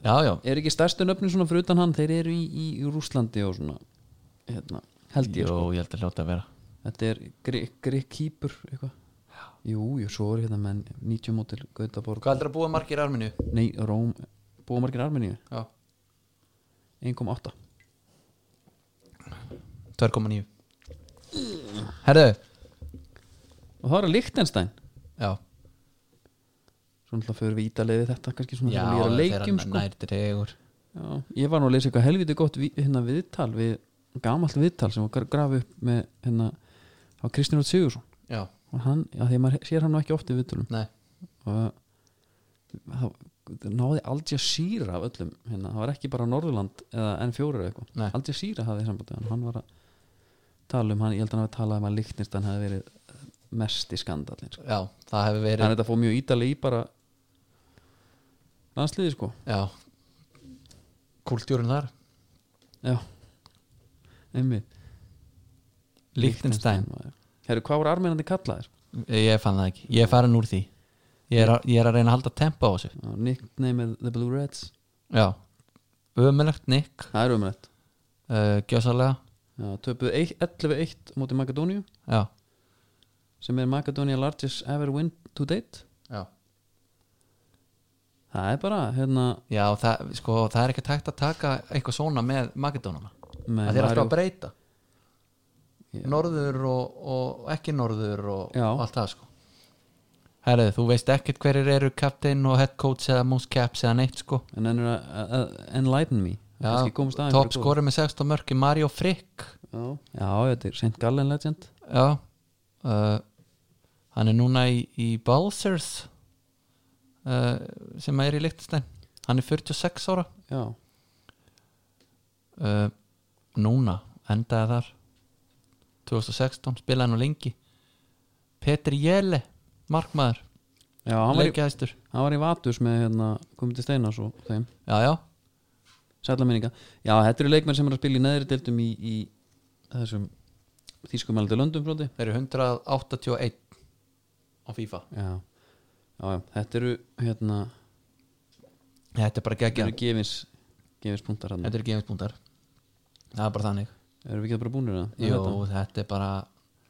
S2: já, já,
S1: er ekki stærstu nöfnin svona fyrir utan hann, þeir eru í, í, í Rússlandi og svona, hérna held ég
S2: Jó,
S1: sko,
S2: ég held að hljóta að vera
S1: þetta er Grekkýpur eitthvað Jú, jú, svo er hérna menn 90 mótil Gautaborg,
S2: hvað heldur að búa margir arminu?
S1: nei, Róm búið margir Armeníu,
S2: já,
S1: 1,8
S2: 2,9 herðu,
S1: og það er Lichtenstein
S2: já
S1: svo náttúrulega fyrir við ítalegi þetta kannski svona
S2: já,
S1: þegar við erum að
S2: þegar
S1: leikjum
S2: hann
S1: sko.
S2: nær dregur
S1: Já, ég var nú að lesa eitthvað helviti gott vi, hérna viðtal við gamalt viðtal sem var grafið upp með hérna á Kristján Róð Sigursson
S2: já,
S1: og hann, já, því að maður sér hann nú ekki oft í viðtölum
S2: nei,
S1: og það það náði Al Jazeera af öllum hérna, það var ekki bara Norðurland eða N4 eða
S2: Nei.
S1: eitthvað, Al Jazeera hafði sambandi hann, hann var að tala um hann, ég held að hann hafi talað um að Lichtenstein hefði verið mest í skandalin sko.
S2: já, það hefur
S1: hann er
S2: verið
S1: þetta fóð mjög ítalegi í bara landsliði sko
S2: já kúltjúrin þar
S1: Já Einmitt
S2: Lichtenstein.
S1: maður. Herru, hvað voru armennandi kallaðir?
S2: ég fann það ekki, ég er farin úr því ég er, að, ég er að reyna að halda tempo á þessu
S1: Já, Nicknameið The Blue Reds
S2: já, ömulegt Nick
S1: Það er umrætt
S2: uh, gjössalega
S1: Töpuð 11-1 mútið Magadóníu
S2: já,
S1: sem er Magadónia largest ever win to date
S2: já.
S1: Það er bara, hérna
S2: já það, sko, það er ekki tækt að taka eitthvað svona með Makedónana
S1: með
S2: það er alltaf að
S1: Mario-
S2: breyta
S1: Já.
S2: norður og, og ekki norður og,
S1: Já.
S2: og allt það sko herrið, þú veist ekkert hverjir eru captain og head coach eða most caps eða neitt sko
S1: En ennur að að- að enlighten me
S2: já,
S1: Kannski komast aðeins
S2: top
S1: fyrir
S2: score með 16 mörki Mario Frick
S1: góðu. Já, Já, þetta er St. Gallen legend
S2: já uh, hann er núna í, í Balsers uh, sem er í Lichtenstein hann er 46 ára
S1: Já,
S2: uh, núna endaði þar 2016 spilaði nú lengi Petri Jelle markmaður,
S1: já hann, var í,
S2: leikjæðstur
S1: hann var í Vatus með hérna, komið til Steinas og þeim
S2: já, já,
S1: sætla minninga já, þetta eru leikmenn sem er að spila í neðri deltum í, í þessum þýskumældu löndum flóti
S2: þeir eru 181 á FIFA
S1: já. já, já, þetta eru hérna,
S2: þetta er bara
S1: þetta
S2: geggja,
S1: eru gefins gefins punktar hann
S2: þetta eru gefinspunktar það er bara þannig
S1: erum við ekki bara búinir að
S2: Jú,
S1: þetta?
S2: þetta er bara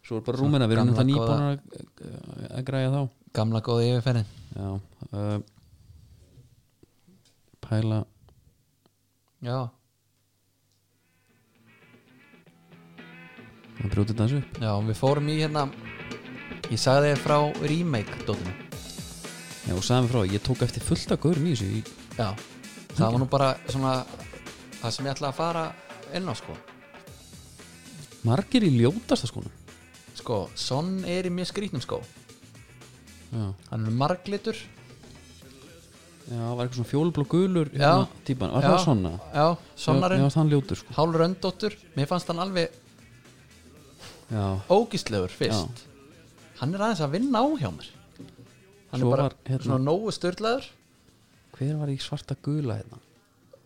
S1: svo er bara
S2: Svona
S1: rúmina, við erum
S2: gamla
S1: náttúrulega nýbúinir að, að græja þá
S2: gamla góða yfirferðin
S1: já uh, pæla
S2: já,
S1: að brjóta þetta þessu upp
S2: já, við fórum í hérna ég sagði þér frá remake dótinu,
S1: já, og sagði mig frá, ég tók eftir fullt af gaurum í þessu í,
S2: já það var nú bara svona það sem ég ætla að fara inn á sko
S1: margir í ljótasta skónum
S2: Sko, Son er í mjög skrýtnum skó
S1: já,
S2: Hann er marglitur
S1: já var eitthvað svona fjólublá gulur
S2: Já.
S1: hérna, típan, var
S2: Já.
S1: það svona?
S2: Já,
S1: Já,
S2: Sonarinn,
S1: já, þann ljótur sko
S2: Hálur Öndóttur Mér fannst hann alveg
S1: Já,
S2: ógistlegur fyrst Hann er aðeins að vinna á hjá mér Hann
S1: Svo
S2: er bara
S1: var, hérna-
S2: svona nógu störtlegur
S1: hver var í svarta gula hérna?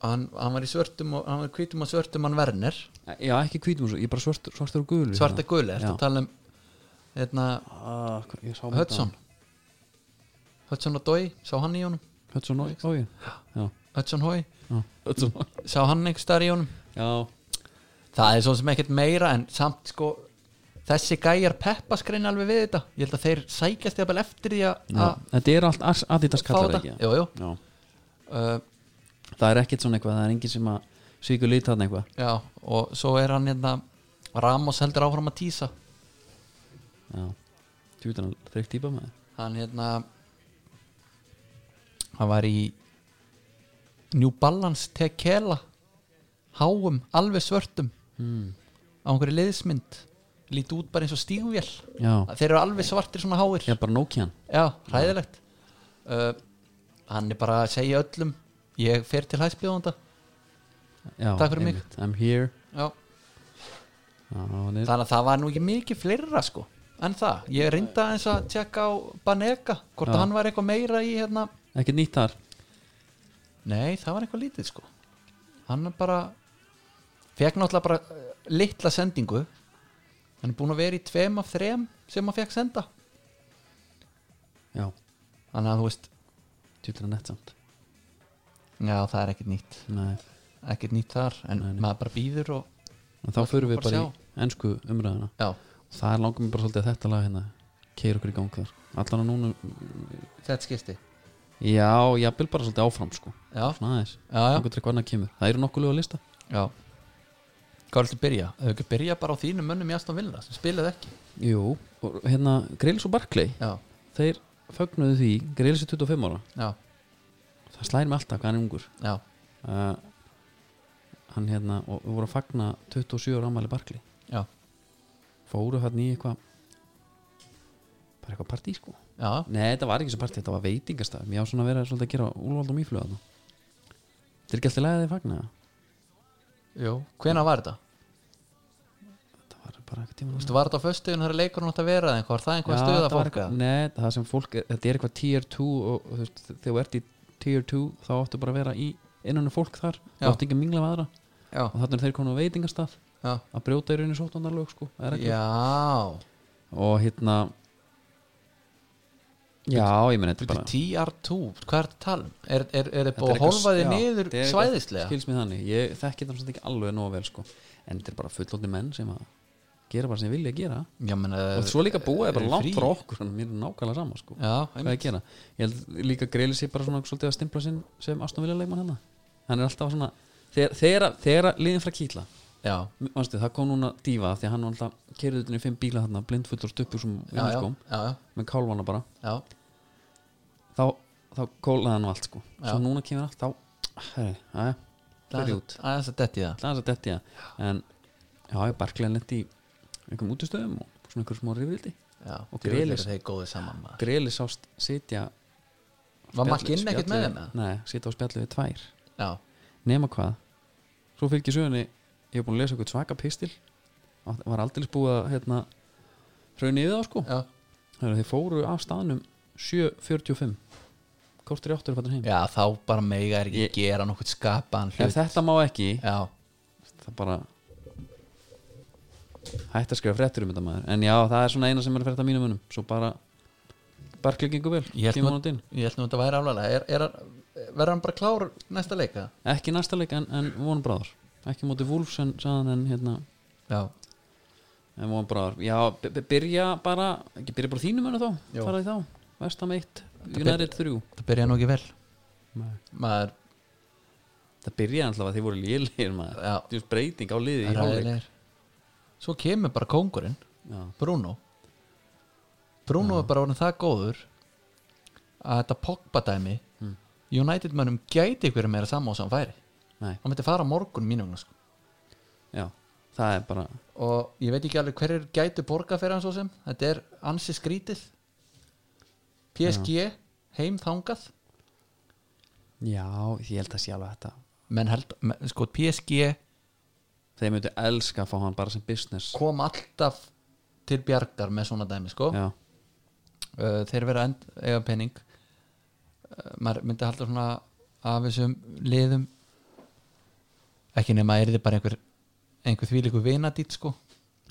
S2: hann, hann var í svörtum og hann var í hvítum og svörtum hann Werner
S1: Já, ekki hvítum og svo, ég er bara svartur, svartur og gulu
S2: Svarta guli, ertu
S1: Já.
S2: að tala um hérna,
S1: ah, hvað- ég sá mynd
S2: Hudson Hudson og Dói, sá hann í honum
S1: af- Hudson og Ói Já,
S2: Hudson Hói,
S1: já, Hudson og
S2: sá hann einhver starf í honum
S1: Já,
S2: Það er svona sem ekkert meira en samt sko þessi gæjar peppa skreina alveg við þetta ég held að þeir sækjast jafnvel eftir því að
S1: já.
S2: að
S1: Þetta er allt as- Adidas
S2: fá
S1: kallar
S2: þetta
S1: ekki
S2: jú, jú.
S1: Ah. Já.
S2: Uh,
S1: Það er ekkert svona eitthvað, það er enginn sem að svíku lit hann eitthvað
S2: já, og svo er hann hérna Ramos heldur áfram að tísa
S1: Já, tjútan að þreykt típa maður
S2: hann hérna hann var í New Balance Tekela háum, alveg svörtum
S1: hmm.
S2: á einhverju liðsmynd lítið út bara eins og stígvél
S1: Já,
S2: þeir eru alveg svartir svona háir
S1: ég er bara Nokian
S2: Já, hræðilegt uh, Hann er bara að segja öllum Ég fer til hæstbjóðanda
S1: Já,
S2: Takk fyrir mig.
S1: einmitt. I'm here
S2: já.
S1: Já, hann er-
S2: þannig að það var nú ekki mikið fleira sko en það, ég reynda eins að tjekka á Banega, hvort
S1: Já.
S2: að hann var eitthvað meira í hérna,
S1: Ekkert nýtt þar
S2: nei það var eitthvað lítið sko hann er bara fekk náttúrulega bara uh, litla sendingu hann er búin að vera í tveim af þrem sem hann fekk senda
S1: Já,
S2: þannig að þú veist,
S1: tjútla nett samt
S2: já það er ekkert nýtt
S1: Nei,
S2: ekkert nýtt þar, en
S1: Nei, nei.
S2: maður bara býður og,
S1: en þá förum við
S2: bara
S1: bara í ennsku umræðina
S2: já,
S1: Það er langum bara svolítið að þetta lag hérna Keir okkur í gang þar Allan að núna
S2: þetta skipti
S1: Já, ég vil bara svolítið áfram sko
S2: já,
S1: Svona aðeins
S2: já, já,
S1: Einhvern veginn hvernig kemur Það eru nokkuð lög að lista
S2: já hvað er þetta að byrja? Þau ekki byrja bara á þínum mönnum í Aston Villa sem spilaði ekki
S1: Jú, og hérna Greils og Barclay
S2: já,
S1: Þeir fögnuðu því Greils er 25 ára
S2: já,
S1: Það slæri mig alltaf hvað hann er ungur
S2: já
S1: uh, Hann hérna Og við voru að fagna 27 ára ámæli Barclay
S2: Já,
S1: Fóru hann í eitthvað Bara eitthvað partí sko
S2: já,
S1: Nei, þetta var ekki sem partí, þetta var veitingastað Mér á svona að vera svolítið að gera úlvald og mýflug þarna. Þetta er ekki alltaf leiðið fagna
S2: jú Hvenær var þetta?
S1: Þetta var bara eitthvað tíma
S2: Vistu, var þetta á föstuðin þegar leikurinn átt að vera eða eitthvað? Var það einhver
S1: þetta
S2: stöða
S1: var
S2: fólk?
S1: eitthvað, Nei, það sem fólk, er, þetta er eitthvað tier 2 og, og þú veist, þegar þú ert í tier 2 þá áttu bara að vera í innan um fólk þar
S2: Já.
S1: þú áttu ekki að mingla við aðra
S2: Já,
S1: og þannig er þeir komin á veitingastað
S2: já,
S1: að brjóta í rauninni sóttandarlög sko, það er ekki
S2: já
S1: og hérna Já, ég meni þetta er
S2: Þetta
S1: bara
S2: er TR2, hvað er þetta talum? um? Er, er, er þetta
S1: Þetta
S2: búið
S1: er
S2: að
S1: eitthvað-
S2: hólfa þið
S1: já,
S2: niður
S1: þetta er eitthvað-
S2: svæðislega?
S1: skilst mér þannig, ég þekki það ekki alveg nóg vel sko, en þetta er bara fullótti menn sem að gera bara sem vilja gera
S2: Já, menn
S1: og svo líka búa er bara
S2: eru
S1: langt
S2: frí?
S1: frá okkur þannig að mér er nákvæmlega sama sko
S2: Já,
S1: hvað að
S2: einmitt
S1: gera ég held líka greiði sér bara svona svolítið að stimpla sinn sem Aston Villa leikmann hennar hann er alltaf svona þegar, þegar, þegar liðin frá kýtla
S2: Já,
S1: Manstu, það kom núna dífa af því að hann var alltaf kerðið utan í fimm bíla þarna blindfullur stuppur sem
S2: já, já,
S1: sko,
S2: já, já,
S1: með kálvana bara
S2: já,
S1: þá, þá kólaði hann á allt sko svo
S2: Já. núna
S1: núna kemur allt þá herri, aðja,
S2: Það
S1: fyrir
S2: er
S1: út
S2: aðeins að detti það
S1: alltaf þess að detti það en já, ég barklega lendi í einhverjum útistöðum og svona einhverjum smá rifrildi
S2: Já,
S1: Og
S2: djöfull eru
S1: Grealish.
S2: þeir góðið saman maður.
S1: greiði sást sitja
S2: Var
S1: spjalli-
S2: makkinn ekkert með
S1: spjalli-
S2: þeim? eða?
S1: nei, sitja á spjallu við tvær
S2: Já,
S1: nema hvað svo fylgir sögunni, ég hef búin að lesa eitthvað svaka pistil og það var aldrei búið að hérna, hraunni yfir þá sko
S2: já,
S1: Þegar þeir fóru af staðnum 7.45 kortur í 8 er fattur heim
S2: já, þá bara mega er ekki
S1: Ég-
S2: gera nokkuð skapaðan
S1: ef
S2: hlut
S1: þetta má ekki
S2: Já,
S1: það bara hætt að skrifa fréttur um þetta maður en já, það er svona eina sem er að frétta mínum munum svo bara barklingingu vel
S2: Ég held
S1: kemur
S2: nú-
S1: hann út inn
S2: Ég held nú að þetta væri aflega er, er, hann- Verður hann bara klár næsta leika?
S1: ekki næsta leik en, en vonum bráður ekki móti Wolfs en saðan en hérna
S2: Já,
S1: en vonum bráður já, by- by- byrja bara ekki byrja bara þínum munum þá
S2: Já.
S1: fara í þá vestam 1 United 3
S2: það byrja nú ekki vel
S1: Nei.
S2: Maður
S1: það byrja alltaf að þið voru lélir maður
S2: Já.
S1: Þú veist, breyting á liði í hálfleik
S2: ræðilegir Svo kemur bara kóngurinn
S1: já
S2: Bruno Bruno er bara orðin það góður að þetta Pogba dæmi
S1: Hmm.
S2: United mönnum gæti ykkur meira sammáð sem færi
S1: Nei,
S2: Hann myndi fara á morgun mínum sko.
S1: já, það er bara
S2: og ég veit ekki alveg hverjir gætu borga fyrir hann svo sem þetta er ansi skrítið PSG heim þangað
S1: Já, ég held að sé alveg þetta
S2: menn held, menn, sko PSG
S1: Þeir myndu elska að fá hann bara sem business
S2: kom alltaf til bjargar með svona dæmi sko
S1: Já,
S2: uh, þeir vera end, eiga penning uh, maður myndi halda svona af þessum liðum ekki nema er þið bara einhver einhver þvílíku vinadít sko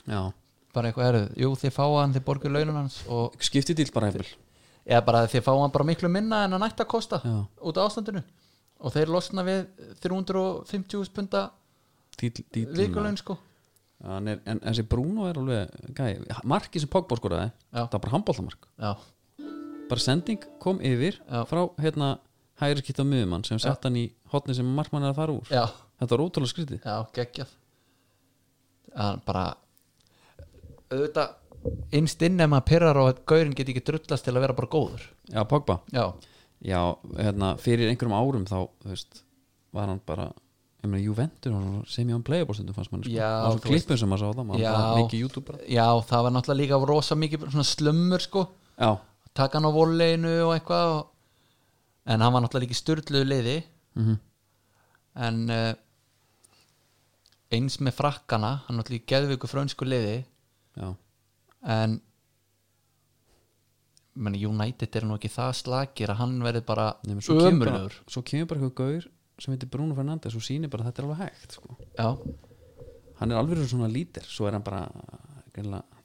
S1: já
S2: bara eitthvað eruð, jú þið fá hann þið borgur launum hans og
S1: Skipti dýl bara hefur
S2: eða bara þið fá hann bara miklu minna en hann ætti að kosta
S1: Já.
S2: út af ástandinu og þeir losna við 350 punda vikulaun sko
S1: En, er, en þessi Bruno er alveg gæ, Marki sem Pogba skoraði
S2: Já.
S1: Það var bara handbóltamark
S2: já,
S1: Bara sending kom yfir
S2: Já.
S1: frá hérna hægri kitt á miðumann sem sett hann í hotni sem markmann er að fara úr
S2: já,
S1: Þetta var ótrúlega skrítið
S2: já, geggjað hann bara auðvitað innst inn ef maður pyrrar og að gaurin geti ekki drullast til að vera bara góður
S1: Já, Pogba
S2: já,
S1: Já, hérna, fyrir einhverjum árum þá þú veist, var hann bara ég meina, Juventus og sem ég hann playable stundum fannst manni sko.
S2: Já,
S1: og
S2: þú
S1: svo klippum sem maður sá það maður
S2: Já.
S1: var mikið YouTube bara
S2: já, það var náttúrulega líka rosa mikið svona slömmur sko
S1: Já,
S2: taka hann á volleinu og eitthvað og...
S1: Mhm.
S2: en hann var náttúrulega líka í styrluðu liði
S1: mm
S2: en uh, eins með frakkana hann er náttúrulega í geðviku frönsku liði
S1: já,
S2: en meni, United er nú ekki það slagir að hann verði bara
S1: Nei, menn, svo, kemur bara,
S2: ömurlegur
S1: svo kemur bara eitthvað gaur sem heitir Bruno Fernandes og sýnir bara að þetta er alveg hægt sko.
S2: já,
S1: hann er alveg svona lítir svo er hann bara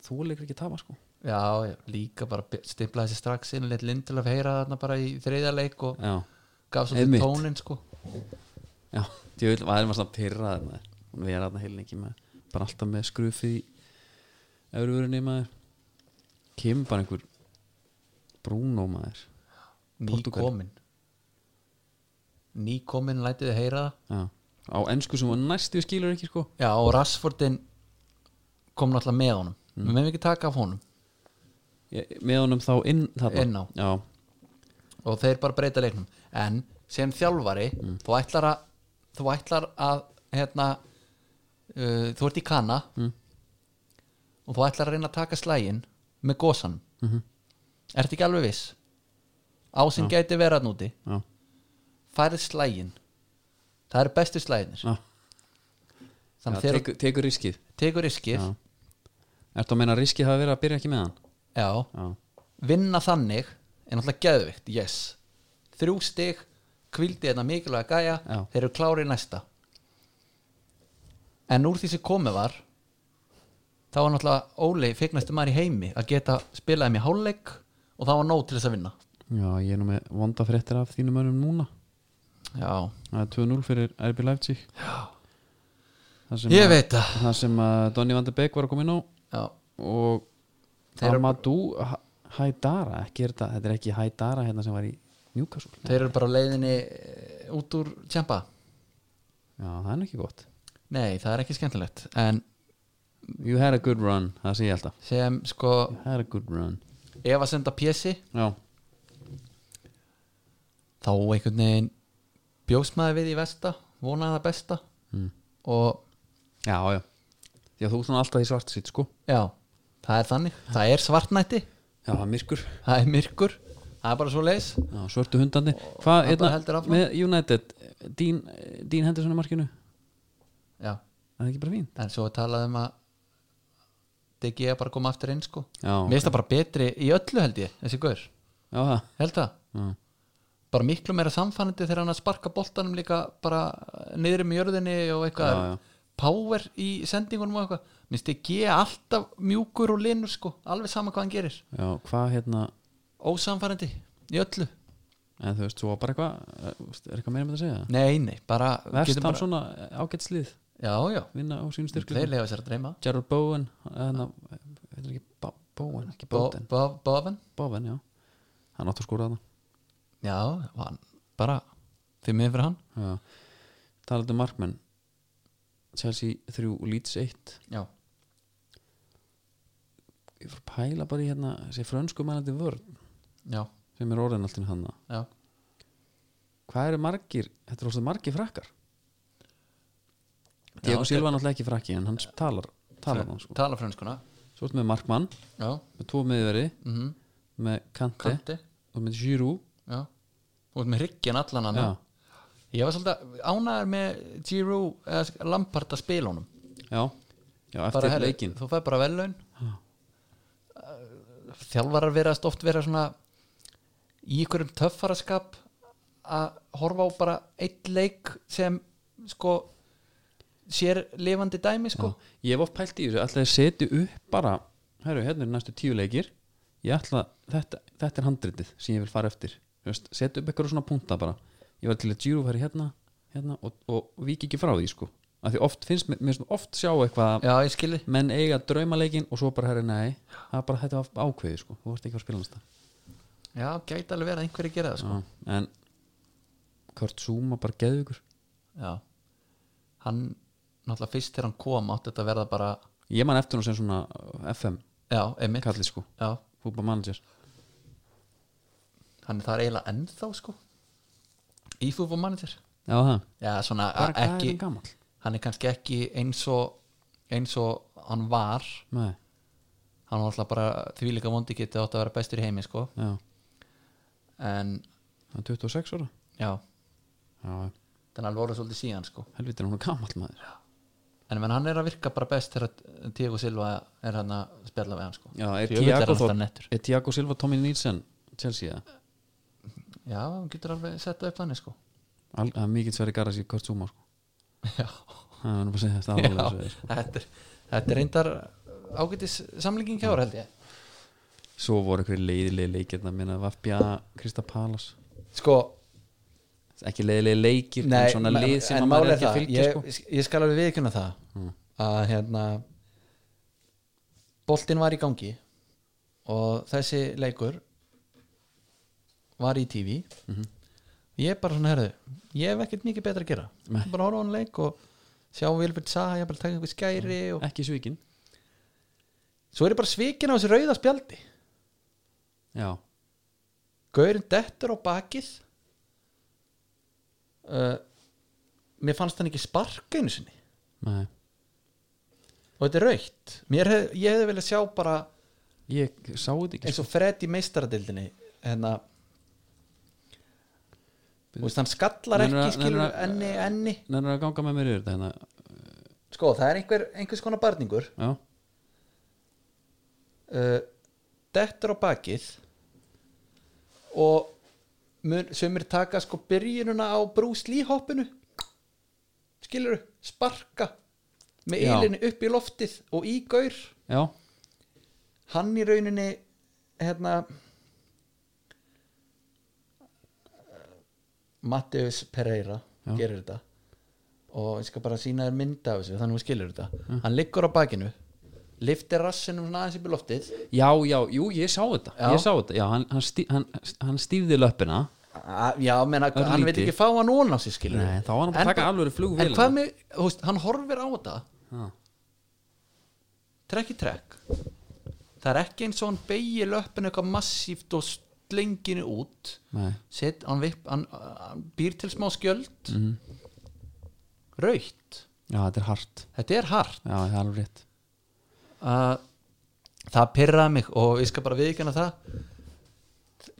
S1: þú leikur ekki að tapa sko.
S2: já, já, líka bara be- stimplaði sér strax inn leitt lindil að heyra þarna bara í þriðja leik og
S1: já,
S2: gaf svolítið
S1: Einmitt.
S2: tónin sko
S1: já, djöfull, maður er maður svona pyrrað maður. við erum þarna heilningi með bara alltaf með skrufið í öðruvörunni maður kemur bara einhver Bruno maður Portugal.
S2: nýkomin nýkomin lætið að heyra það
S1: já, á ennsku sem var næstu skilur ekki sko
S2: Já, og Rashfordin kom náttúrulega með honum við meðum ekki taka af honum
S1: Ég- með honum þá inn þarna
S2: Inn á.
S1: já,
S2: og þeir bara breyta leiknum en sem þjálfari
S1: Mm.
S2: þú ætlar að þú ætlar að hérna uh, þú ert í kana
S1: Mm.
S2: og þú ætlar að reyna að taka slægin með gósanum mm
S1: Mhm.
S2: -hmm. ertu ekki alveg viss ásinn gæti vera að núti
S1: já,
S2: færið slægin það eru bestu slæginir
S1: já, já
S2: þannig þegar
S1: tekur, tekur riskið
S2: þú tekur riskið
S1: já. ertu að meina að riskið hafi verið að byrja ekki með hann
S2: já
S1: já,
S2: vinna þannig er náttúrulega geðvikt, yes þrjú stig, kvildi þetta mikilvæga gæja
S1: Já.
S2: þeir eru klári næsta en úr því sem komið var þá var náttúrulega Óli fegnastu maður í heimi að geta spilaði mér hálfleik og það var nóg til þess að vinna
S1: já, ég er nú með vondafréttir af þínum önum núna
S2: já,
S1: það er 2-0 fyrir RB Leipzig það sem,
S2: ég
S1: að,
S2: veit það
S1: það sem að Donny van de Beek var að koma inn á
S2: já,
S1: og
S2: Þeir eru-
S1: Amadou Ha- Haidara ekki er þetta, þetta er ekki Haidara hérna sem var í Newcastle já,
S2: þeir eru bara á leiðinni eh, út úr tjempa
S1: það er nú ekki gott
S2: nei, það er ekki skemmtilegt en
S1: you had a good run, það sé ég alltaf
S2: sem sko
S1: you had a good run
S2: ef að senda pjessi
S1: já,
S2: þá einhvern veginn bjóst maður við í vesta vonaði það besta
S1: Mm.
S2: og
S1: já, já já, þú ert svona alltaf í svart sitt sko
S2: já, það er þannig það er svartnætti,
S1: já, það er myrkur
S2: það er myrkur það er bara svo leis
S1: já, svörtu hundandi hvað,
S2: það bara heldur
S1: hérna,
S2: áfram.
S1: með United Dean, Dean Henderson í markinu
S2: já,
S1: það er ekki bara fínt
S2: en svo er talað um að DG er bara að koma aftur inn sko
S1: já,
S2: mér finnst það bara betri í öllu held ég þessi gaur,
S1: já, það
S2: held það
S1: já.
S2: bara miklu meira samfænandi þegar hann að sparka boltanum líka bara niður um jörðinni og eitthvað
S1: Já, já.
S2: power í sendingunum og eitthvað minnst DG alltaf mjúkur og linur sko alveg sama hvað hann gerir
S1: já, hvað hérna
S2: ósamfærandi í öllu
S1: En þú veist, svo var bara eitthvað eh, þú veist, Er eitthvað meira með að segja?
S2: nei, nei, bara
S1: Verst
S2: getum
S1: hann
S2: bara,
S1: svona ágætslið
S2: já, já,
S1: Vinna á sínu styrklu
S2: þeir lefa sér að dreyma
S1: Gerard Bowen Þannig að ekki Bo- Bowen, ekki
S2: Bo-
S1: Bowden
S2: Bo- Boven,
S1: Bowen, já Hann átti að skóra
S2: já, og hann bara, þið miður fyrir hann
S1: þarna Talandi um markmenn Chelsea 3 og Leeds 1
S2: já,
S1: Ég fór að pæla bara í hérna Þessi frönsku mælandi vörn
S2: já,
S1: Sem er orðin alltaf hann
S2: já
S1: Hvað eru margir Þetta eru alltaf margir frakkar
S2: Já,
S1: Diego
S2: ok.
S1: Silva er náttúrulega ekki frakki En hann talar Talar hann sko
S2: tala frönskuna
S1: Svo ertu með markmann
S2: já,
S1: Með tvo miðveri
S2: mhm,
S1: Með Kante
S2: kanti
S1: og með Giroud
S2: já, og með hryggjan allan hann
S1: já,
S2: ég var svolítið ánæður með Giroud eða Lampard að spila honum
S1: já, já eftir
S2: bara,
S1: bara,
S2: herri,
S1: leikin
S2: þú fær bara vellaun þjálfarar verast oft vera svona í ykkurum töffaraskap að horfa á bara eitt leik sem sko sér lifandi dæmi sko
S1: ég hef oft pælt í þessu, ætla að setja upp bara herru, hérna er næstu tíu leikir ég ætla, þetta, þetta er handritið sem ég vil fara eftir, Þú veist, setja upp eitthvað svona punkta bara, ég var til að Giroud færi hérna, hérna og, og, og vík ekki frá því sko, af því oft finnst mér, mér finnst oft sjá eitthvað að
S2: já, ég skilji
S1: menn eiga draumaleikin og svo bara herri nei, það er bara þetta var ákveðið sko, þú varst ekki að spila hans það
S2: já, gæti alveg verið að einhverju gera það sko
S1: Já, en Kurt Zuma bara geðugur
S2: já, hann náttúrulega fyrst þegar hann kom átti þetta að verða bara
S1: ég man eftir hún sem svona uh, FM
S2: já, einmitt
S1: kallið sko,
S2: já,
S1: fútbol manager
S2: hann er þar eiginlega ennþá sko í fútbolmanager
S1: já það,
S2: já, svona
S1: bara hvað er
S2: ekki
S1: hann gamall
S2: hann er kannski ekki eins og eins og hann var
S1: nei,
S2: hann var alltaf bara því líka vondi getið átt að vera bestur í heimi sko
S1: já,
S2: en
S1: hann er 26 ára
S2: já,
S1: já,
S2: þannig að hann voru svolítið síðan sko
S1: helviti er hún gamall maður
S2: en menn, hann er að virka bara best þegar Diego Silva er hann að spjalla við hann sko.
S1: Já, er
S2: Því auðvitað
S1: Thiago
S2: hann
S1: Þór-
S2: alltaf nettur
S1: er Tiago Silva Tommy Nielsen Chelsea eða?
S2: já, hann getur alveg sett það upp þannig sko. (laughs)
S1: Al- það er mikið sverri garas í Kurt Zuma sko.
S2: já,
S1: það er nú bara að segja þetta
S2: já
S1: alvarlega svo er, sko.
S2: þetta, er, þetta er reyndar ágætis samlingin kjára held ég
S1: svo voru einhverjir leiðilegi leikir það minna Vafbja Krista Palas
S2: sko, ekki
S1: ekki leiðilegi leikir en svona
S2: ma-
S1: lið sem
S2: en
S1: að maður
S2: málið
S1: er ekki að
S2: það,
S1: fylgja sko. Mm.
S2: ég, ég skal alveg viðkynna það að hérna boltinn var í gangi og þessi leikur var í TV
S1: Mhm.
S2: ég bara svona herðu ég hef ekkert mikið betra að gera
S1: Nei.
S2: bara horfa á hann leik og sjá Vilbert Saha ég bara taka einhver skæri og...
S1: ekki svíkin
S2: svo er ég bara svikin á þessu rauða spjaldi
S1: já,
S2: Gaurinn dettur á bakið uh, Mér fannst hann ekki sparka einu sinni
S1: nei
S2: og þetta er raukt Mér hef, ég hefði viljað sjá bara
S1: ég sá þetta ekki sko.
S2: eins og Fred í meistaradildinni hérna Þú veist, hann skallar
S1: Nennirðu
S2: ekki
S1: að-
S2: skilur
S1: nennirðu að-
S2: enni, enni
S1: nennir að ganga með mér yfir þetta hérna.
S2: Sko, það er einhver, einhvers konar barningur
S1: já,
S2: uh, dettur á bakið og mun, sumir taka sko byrjununa á Bruce Lee hoppinu skilur sparka með
S1: Já.
S2: eilinni upp í loftið og í gaur
S1: já,
S2: hann í rauninni hérna Mattius Pereira
S1: Já.
S2: gerir þetta og ég skal bara sína þér mynda af þessu þannig að skilur þetta hann liggur á bakinu liftir rassinum svona aðeins upp í loftið
S1: já, já, jú, ég sá þetta
S2: Já.
S1: ég sá þetta, já, hann, hann, stí, hann, hann stýfði löppina
S2: A- Já, menna,
S1: Örlítið.
S2: hann veit ekki fá hann ón á sig skilur
S1: Nei, þá var hann bara að taka alvöru flugvél.
S2: En hvað með, þú veist, hann horfir á þetta
S1: já,
S2: trekk í trekk það er ekki eins og hann beigi löppin eitthvað massíft og slenginu út
S1: nei,
S2: set, hann, vip, hann, hann býr til smá skjöld mm
S1: Mhm.
S2: raukt
S1: já, þetta er hart
S2: þetta er hart
S1: já, það er alveg rétt
S2: uh, það pyrraði mig og ég skal bara viðkjanna það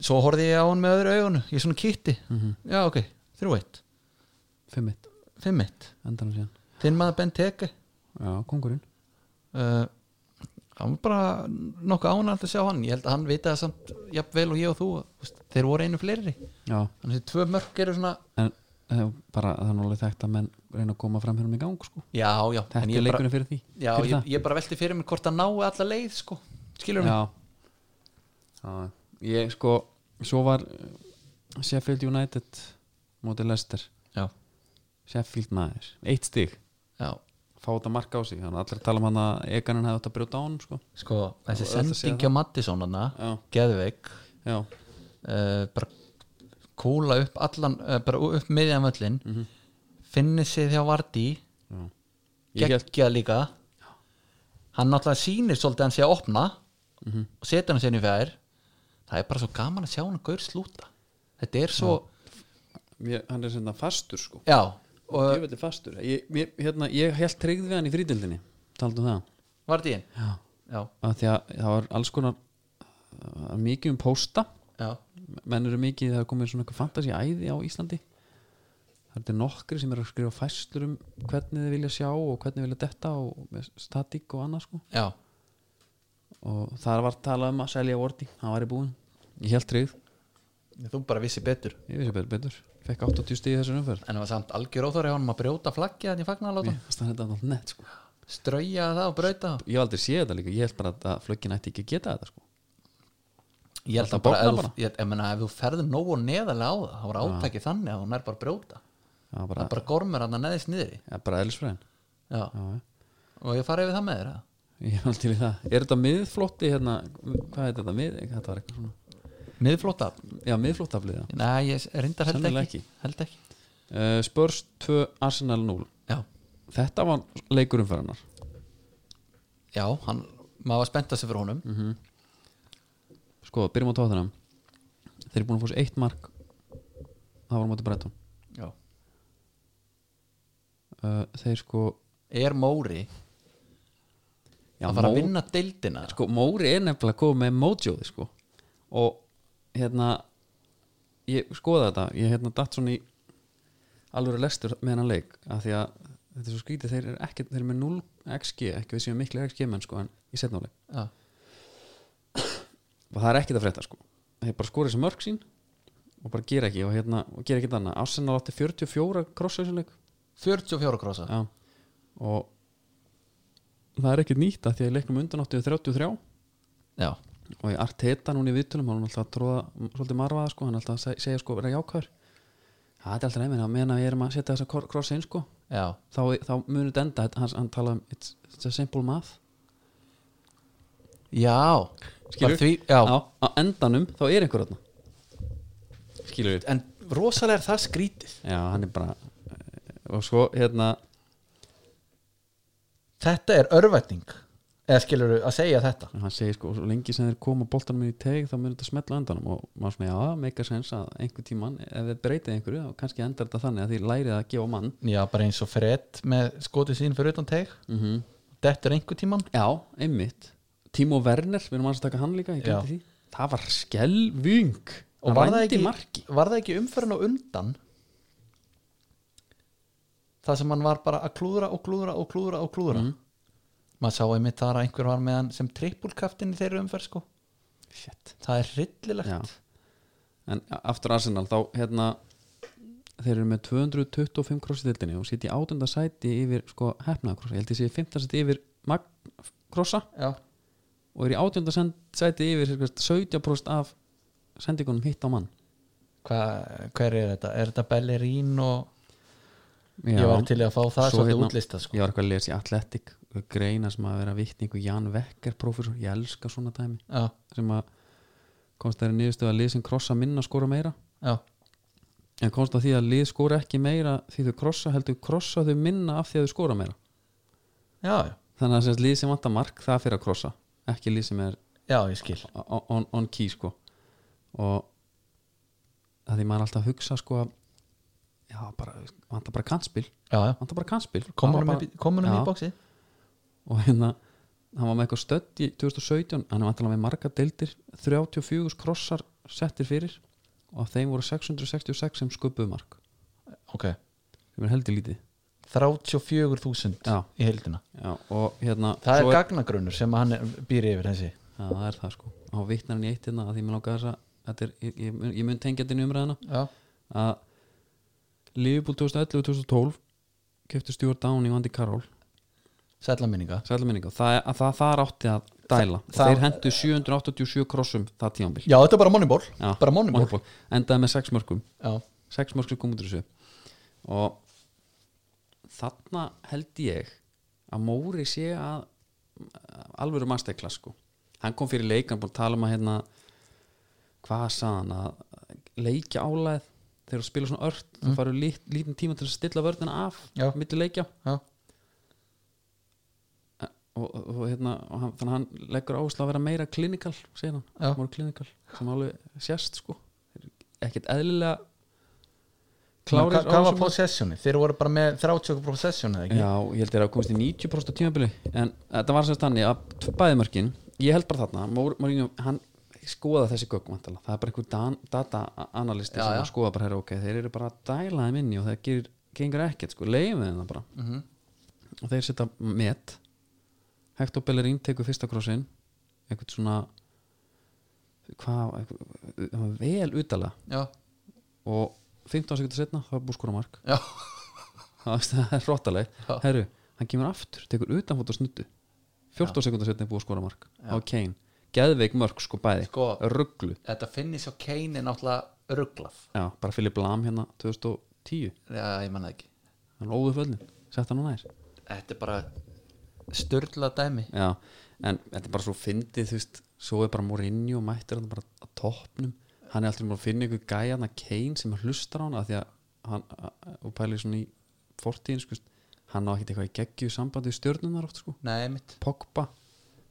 S2: svo horfði ég á hann með öðru augun ég svona kýtti,
S1: Mhm.
S2: já ok, þrjú eitt
S1: fimm mitt,
S2: fimm eitt,
S1: endan síðan
S2: þinn maður Ben Teke
S1: já, kongurinn
S2: uh, hann var bara nokkuð ánald að sjá hann ég held að hann vita það samt jafnvel og ég og þú þú veist, þeir voru einu fleiri
S1: já,
S2: þannig að tvö mörk eru svona
S1: en eh, bara það er nú alveg þekkt að menn reyna að koma fram hérna í gang sko.
S2: já, já,
S1: þetta
S2: en
S1: er
S2: ég bara,
S1: leikurinn fyrir því
S2: já,
S1: fyrir
S2: ég, ég bara velti fyrir mér hvort að ná alla leið sko. skilur
S1: það
S2: mig
S1: já. já, ég sko svo var eh, Sheffield United mótið Leicester
S2: já,
S1: Sheffield maður, eitt stig
S2: já.
S1: fá þetta marka á sig, þannig að allir tala um hann að eganin hefði átt að brjóta á hann sko.
S2: Sko, þessi
S1: Og þetta sé
S2: sending hjá Mattisson hana,
S1: Já.
S2: Geðveik
S1: já,
S2: uh, bara kúla upp allan, uh, bara upp miðjan völlin mm -hmm. finni sig þjá Vardí
S1: já. Ég held,
S2: geggja líka hann náttúrulega sýnir svolítið að hann sé að opna og setja hann sér í fjær það er bara svo gaman að sjá hann gaur slúta þetta er svo,
S1: mér, hann er sem það fastur sko.
S2: já, og
S1: djöfelli fastur ég, mér, hérna, ég held treyð við hann í frítildinni taldu um það
S2: var þetta í hinn
S1: já.
S2: já,
S1: að því að það var alls konar það var mikið um pósta
S2: já,
S1: menn eru mikið, það er komið svona eitthvað fantasi æði á Íslandi það eru nokkri sem eru að skrifa fæslur um hvernig þið vilja sjá og hvernig vilja detta og með statík og annað sko
S2: já
S1: og það var talað um að selja vorti hann var í búin, ég held tryggð
S2: þú bara vissi betur
S1: ég vissi betur, betur, fekk 80 stíð í þessar umferð
S2: en það var samt algjör óþóri á hann að brjóta flaggið þannig fagnaláta,
S1: Mér fannst það þetta alltaf nett sko
S2: strauja það og brauta það.
S1: ég hef aldrei séð þetta líka, ég held bara að- að flöggin ætti ekki að geta þetta sko
S2: ég held
S1: Alltaf
S2: að bara,
S1: botna
S2: ef þú-
S1: bara.
S2: ég, ég meina, ef þú ferður nógu neðalega á það, það var átækið þannig að hún er bara að brjóta
S1: það var
S2: það
S1: bara,
S2: bara gormur hann að neðist niðri
S1: ja, bara elsfræðin
S2: já, og ég fara yfir það með þér eða?
S1: ég hef aldrei í það, er þetta miðflotti hérna, hvað heit þetta, mið, þetta var eitthvað svona
S2: miðflóta,
S1: já, miðflottaflið, já
S2: Nei, ég reyndar held
S1: Sennilega
S2: ekki. Held ekki
S1: uh, Spurs 2 Arsenal 0
S2: Já,
S1: þetta var leikur umferðarnar
S2: já hann, maður var spennt að sig fyrir honum
S1: sko, byrjum á tóðunum þeir eru búin að fóra eitt mark það var á móti breytum
S2: Já.
S1: uh, þeir sko,
S2: Er Móri
S1: já,
S2: að fara að vinna deildina
S1: sko Móri er nefnilega komið með mojóði sko og hérna ég skoða þetta, ég hérna datt svona í alvöru lestur með hennan leik af því að þetta er svo skrítið, þeir eru ekki þeir eru með 0 XG, ekki við séum miklu XG menn sko, en í setnáli
S2: já,
S1: og það er ekkit að frétta sko þeir bara skorið sem mörg sín og bara gera ekki og, hérna, og gera ekkit annað Arsenal átti 44 krossauðsynleik
S2: 44 krossa
S1: Já. og það er ekkit nýtt að því að í leiknum undan átti við 33
S2: já,
S1: og í Arteta núna í viðtölum hann er alltaf að tróða svolítið marfaða sko, hann er alltaf að seg- segja sko vera jákvæður það er alltaf nefnir að mena við erum að setja þessa kor- krossa inn sko
S2: já.
S1: þá, þá munur þetta enda hann, hann tala um it's, it's a simple math
S2: Já,
S1: Skilur?
S2: Bara því, já.
S1: á endanum þá er einhver þarna skilur við
S2: En rosalega er það skrítið
S1: já hann er bara eh, og svo hérna
S2: Þetta er örvætning Eða skilur að segja þetta
S1: hann segir sko svo lengi sem þeir koma boltanum inn í teg þá munur þetta smetla á endanum og maður svona já meikar sens að einhver tíman ef þeir breytið einhverju þá kannski endar þetta þannig að því lærið að gefa mann
S2: Já, bara eins og Fred með skotið sín fyrir utan teig
S1: mm -hmm.
S2: Dettur einhver tíman
S1: Já, einmitt Timo Werner, við erum aðeins að taka hann líka ég glemdi
S2: Já.
S1: því. Það var skelvung
S2: Og
S1: Hann
S2: var það
S1: rændi
S2: ekki-
S1: marki
S2: Var það ekki umferðin á undan Það sem hann var bara að klúðra og klúðra og klúðra og klúðra
S1: Mm.
S2: Maður sá einmitt þar að einhver var með hann sem trippulkaftin í þeirri umferð sko
S1: Shit.
S2: Það er ryllilegt
S1: Já. En aftur Arsenal þá hérna þeir eru með 225 kross í dildinni og sitja í átunda sæti yfir sko hefnaða krossa, ég held ég sé í 15 sæti yfir magn krossa
S2: Já.
S1: og er í átunda send- sæti yfir sérkvæmst 17% af sendingunum hitt á mann
S2: Hva, hver er þetta? Er þetta Bellerín og
S1: Já,
S2: ég var til í að fá það
S1: Svo
S2: svolítið
S1: hérna-
S2: útlista sko.
S1: ég var eitthvað að lesa í Atletic greina sem að vera vitningu Jan Vekker prófessor, ég elska svona dæmi
S2: Já,
S1: sem að komst þeirri niðurstöð að lið sem krossa minna skora meira
S2: já,
S1: en komst að því að lið skora ekki meira því þau krossa heldur krossa þau minna af því að þau skora meira
S2: já, já.
S1: þannig að sem sagt lið sem vantar mark það fyrir að krossa ekki lið sem er
S2: já, ég skil
S1: on, on- on key sko og að því maður er alltaf að hugsa sko að já bara vantar bara kantspil
S2: já, já.
S1: vantar bara kantspil
S2: komunum,
S1: Það
S2: í,
S1: var bara, Já.
S2: komunum í bóksi
S1: og hérna hann var með eitthvað stödd í 2017 hann var alltaf með marga deildir 34 krossar settir fyrir og af þeim voru 666 sem sköpuðu mark
S2: ok,
S1: sem er heldur lítið
S2: 34.000
S1: já,
S2: í heildina
S1: já, og hérna
S2: það
S1: svo
S2: er gagnagrunnur sem hann er, býr yfir þessi
S1: já, það er það sko á vittnarinn í eittina að því mér langar þess að þetta er, ég, ég, mun- ég mun tengja þetta inn í umræðina
S2: já,
S1: að Liverpool 2011 og 2012 kefti Stuart Downey og Andy Carroll
S2: sætla minninga
S1: sæluminninga og það, að það, það rátti að dæla og
S2: það-
S1: þeir hendu 787 krossum það tíðanbíl
S2: já, þetta er bara moneyball, bara moneyball.
S1: endaði með 6 mörgum
S2: Já.
S1: 6 mörg sem kom út úr þessu og þarna held ég að Móri sé að alvöru masterclass sko hann kom fyrir leik, hann búin að tala um að hérna hvað sað hann að leikja álæð þegar þú spila svona ört þá farið lít, lítinn tíma til að stilla vörðina af
S2: Mm. Já.
S1: milli leikja Eh,
S2: já,
S1: og, og, og, hérna, og hann, þannig að hann leggur áherslu að vera meira klinikal, segir hann
S2: Já.
S1: More clinical, sem alveg sérst sko ekkert eðlilega klárir
S2: Hva-
S1: á
S2: hvað var
S1: þessum-
S2: possessioni? þeir voru bara með 30 possessioni
S1: Já, ég held ég að komist í 90% á tímabili en þetta var sérst þannig að tv- bæði mörkin, ég held bara þarna Mór- Mourinho, hann skoða þessi gögg vantala. það er bara einhver dan, data analisti
S2: Já,
S1: sem
S2: já.
S1: að skoða bara, herra, ok, þeir eru bara að dæla þeim inni og það gerir, gengur ekkert sko, leiðum þeim það bara
S2: Mhm.
S1: og þeir setja met Hector Bellerín tekur fyrsta krossin einhvern svona hvað, einhver- hann var vel utalega
S2: já,
S1: og 15 sekundir setna, það er búið að skora mark (laughs)
S2: já,
S1: Það veist, það er hróttaleg
S2: Já.
S1: herru, hann kemur aftur, tekur utanfóta snuttu 14 sekundar setna er búið að skora mark á Kane, geðveik mörk sko bæði
S2: Sko.
S1: rugglu,
S2: þetta finnist á Kane er náttúrulega rugglað
S1: já, bara Filip Lam hérna 2010,
S2: já, ég manna ekki
S1: hann lóðu föllin sett hann á nær,
S2: þetta er bara störla dæmi
S1: já en þetta er bara svo fyndið, þú veist svo er bara Mourinho mættur hann bara á toppnum, hann er alltaf um að finna ykkur gæja hann að Kane sem hlustar á hann að því að hann, að- og pælir svona í fortíðin, sko, hann á ekkert eitthvað í geggju sambandi við stjörnunar oft, sko
S2: nei, mitt
S1: Pogba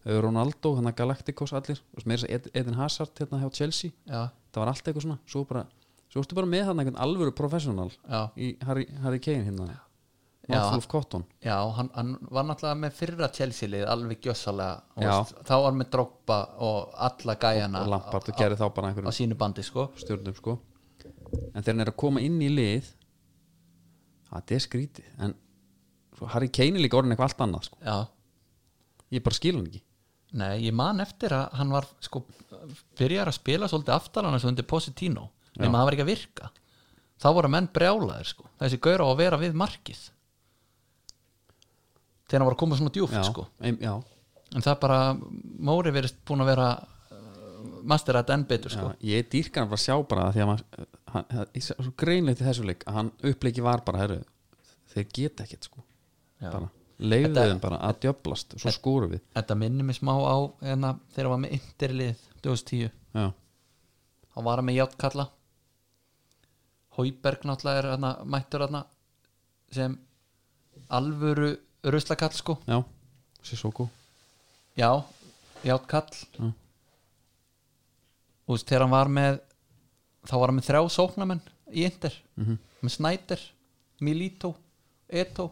S1: eh, Ronaldo, hann að Galacticos allir og sem er þess að Eden Hazard hérna hjá Chelsea
S2: já,
S1: það var allt eitthvað svona svo, bara, svo ertu bara með hann einhvern alvöru professional
S2: já
S1: í Harry, Harry Kane hérna
S2: Já.
S1: Mouthful of Cotton
S2: Já, hann, hann var náttúrulega með fyrra Chelsea-lið alveg gjössalega
S1: Já.
S2: veist, þá var með Drogba og alla gæjana
S1: og Lampard og
S2: á,
S1: gerði þá bara
S2: á
S1: einhverjum
S2: sínu bandi sko.
S1: stjórnum sko en þegar hann er að koma inn í lið það er ah, skrítið en svo Harry Kane er líka orðin eitthvað allt annað sko.
S2: já
S1: ég bara skil hann ekki
S2: Nei, ég man eftir að hann var sko, byrjar að spila svolítið aftalana svo undir Positino, nema það var ekki að virka þá voru menn brjálaðir sko. þessi gaur á að vera við markið þegar hann var að koma svona djúft
S1: já,
S2: sko.
S1: ein, já,
S2: en það er bara, Móri verið búin að vera uh, master at enn betur sko.
S1: já, ég dýrkan að bara sjá bara það því að maður, eh, hann, hann- ég sá svo greinleitt í þessu leik að hann uppleiki var bara herru, þeir geta ekkert sko
S2: Já.
S1: bara, leiðu
S2: Þetta-
S1: þeim bara að djöblast svo skóru við
S2: Þetta minnir mig smá á hérna, þegar hann var með interlið 2010,
S1: já,
S2: hann var hann með játtkalla Hauberg náttúrulega er hana, mættur hana, sem alvöru ruslakall sko
S1: já, Sissoko
S2: Já, játtkall
S1: Já.
S2: Þú veist, þegar hann var með þá var hann með þrjá sóknamenn í Inter -hmm. með Snyder, Milito Eto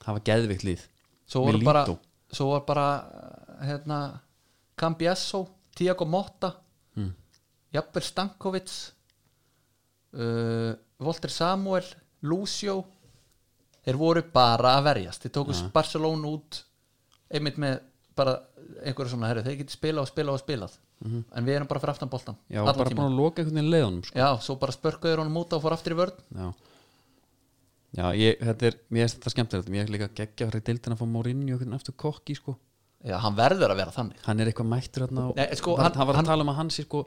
S1: það var geðvikt líð
S2: svo var bara,
S1: Milito.
S2: svo var bara hérna, Cambiasso Tiago Motta
S1: Mm.
S2: Jafnvel Stankovic uh, Volter Samuel Lucio þeir voru bara að verjast þeir tóku Barcelona út einmitt með bara einhverju svona herri, þeir geti spilað og spilað og spilað en við erum bara fyrir aftan boltan
S1: Mhm. já, bara
S2: tímann.
S1: búin að loka einhvern veginn leiðunum sko.
S2: já, svo bara spörkuður honum út og fór aftur í vörn
S1: já, já ég, þetta er mér finnst þetta skemmtilegt, mér er líka geggja fyrir dildin að fá Mourinho einhvern veginn aftur kokki sko.
S2: já, hann verður að vera þannig
S1: hann er eitthvað mættur hérna og
S2: Nei, sko,
S1: hann,
S2: hann-
S1: hann var
S2: hann-
S1: að tala um að hann sé sko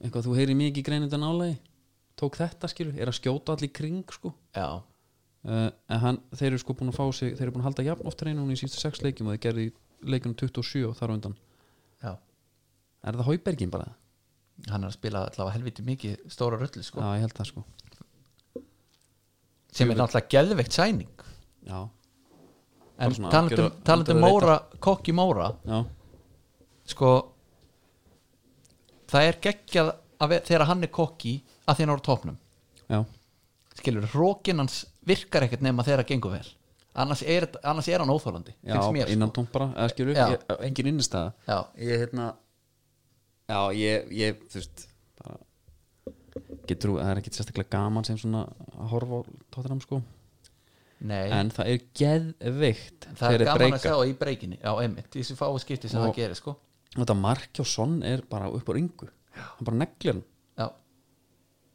S1: eitthvað þú heyri mikið í greinundan álagi tók þetta skilur, er að skjóta allir í kring sko
S2: já,
S1: uh, en hann, þeir eru sko búin að fá sig þeir eru búin að halda jafn oft reynum í síðustu sex leikjum og þeir gerði leikunum 27 og þar á undan
S2: já,
S1: er það Haubergin bara?
S2: hann er að spila allavega helviti mikið stóra röllu sko,
S1: já, ég held það sko
S2: sem er náttúrulega geðveikt sæning
S1: já, Bara
S2: en
S1: svona
S2: talandum,
S1: algjörlega-
S2: talandum
S1: algjörlega
S2: um Móra kokki Móra,
S1: já,
S2: sko það er geggjað að ve- þegar hann er kokki að því hann er á topnum
S1: já,
S2: skilur, hrókin hans virkar ekkert nema þegar það gengur vel annars er, annars er hann óþólandi
S1: já
S2: mér, sko.
S1: innan tómt bara eða skilur,
S2: Já.
S1: ég, eh, engin innistæða
S2: sko. já,
S1: ég hérna já, ég, ég þú veist bara getur, það er ekkit sérstaklega gaman sem svona að horfa á tóttunum sko
S2: nei,
S1: en það er geðveikt
S2: það er
S1: þeir
S2: gaman
S1: breyka.
S2: að segja í breykinni já, einmitt, í þessu fáu skipti sem
S1: Og-
S2: það gerir sko.
S1: þetta marki og sonn er bara upp á ringu hann bara neglir
S2: já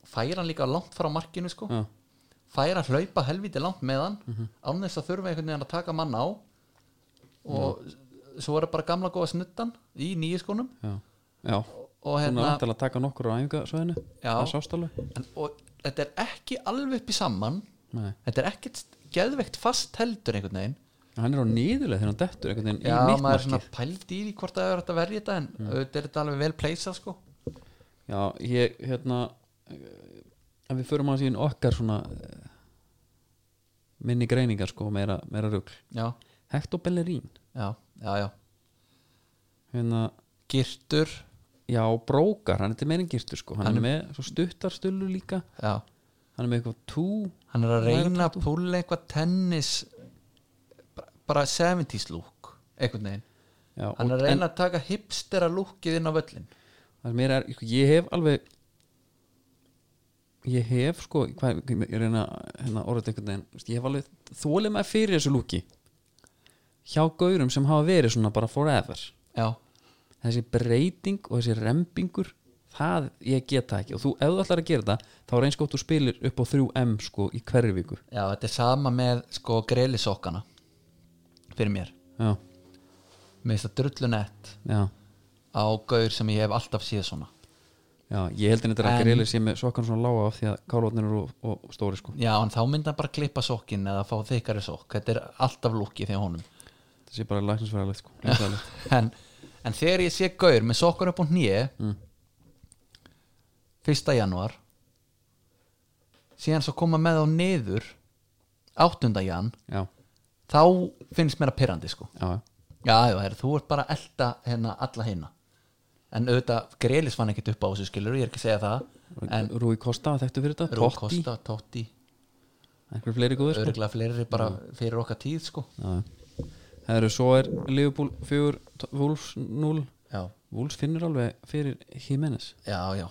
S2: færa hann líka langt frá markinu sko.
S1: hann já,
S2: færa að hlaupa helviti langt með hann án þess að þurfa einhvern veginn að taka mann á og svo er það bara gamla góða snuttan í nýjaskónum
S1: já, já
S2: og,
S1: hún er
S2: hérna,
S1: vantilega að taka nokkur á æfingasvæðinu
S2: Já.
S1: það sást alveg
S2: en, og þetta er ekki alveg upp í saman
S1: Nei.
S2: þetta er ekkert geðveikt fast heldur einhvern veginn
S1: hann er á nýðuleg þegar hann dettur einhvern veginn
S2: já,
S1: í mitt
S2: maður er svona
S1: markið. Mm.
S2: pælt í því hvort það er hægt að verja þetta en auðvitað er þetta alveg vel pleysað sko
S1: Já, ég, hérna eh, ef við förum að síðan okkar svona eh, minni greiningar sko, meira, meira rugl
S2: já,
S1: Hector Bellerín
S2: já, já, já
S1: hérna,
S2: girtur,
S1: já, brókar, hann er til meiringirtur sko, hann,
S2: Hann
S1: er með svo stuttarstullu líka
S2: já
S1: hann er með eitthvað tú
S2: hann er að reyna að púla eitthvað tennis bara- bara 70s look einhvern veginn
S1: já, og-
S2: hann er að reyna að taka hipstera lúkið inn á völlin
S1: það sem mér er, sko, ég hef alveg ég hef sko hvað, ég reyna hérna, orðið einhvern veginn, þú veist, ég hef alveg þólið með fyrir þessu lúki hjá gaurum sem hafa verið svona bara forever
S2: já,
S1: þessi breyting og þessi rempingur það ég geta ekki og þú ef þú ætlar að gera það þá er eins gott þú spilir upp á 3M sko í hverju viku
S2: já, þetta er sama með sko grelisokkana fyrir mér,
S1: já,
S2: mér finnst það drullunett
S1: já,
S2: á gaur sem ég hef alltaf séð svona
S1: já ég held að þetta er
S2: En-
S1: að greli sé með sokkan svona lága af því að kálvotnir eru og, og stóri sko
S2: já, en þá myndi hann bara klippa sokkin eða fá þykkari sokk, þetta er alltaf lúkið þegar honum
S1: það sé bara læknisfæðalegt sko líffræðilegt.
S2: en, en þegar ég sé gaur með sokkar upp á hnýi 1. januar síðan svo koma með á niður 8. jan
S1: já,
S2: þá finnst mér að pyrrandi sko
S1: já,
S2: Já, já, herr, þú ert bara að elda hérna alla hérna En auðvitað, Grelis fann ekkit upp á þessu skilur Ég er ekki að segja það En
S1: já Rúi Kosta þekktu fyrir þetta,
S2: Rúl
S1: Totti
S2: Kosta, Totti
S1: einhver fleiri góður sko
S2: Örgla fleiri bara fyrir okkar tíð sko
S1: já, það eru svo er Liverpool 4, Wolves 0
S2: Já,
S1: Wolves finnur alveg fyrir Jimenez
S2: já, já,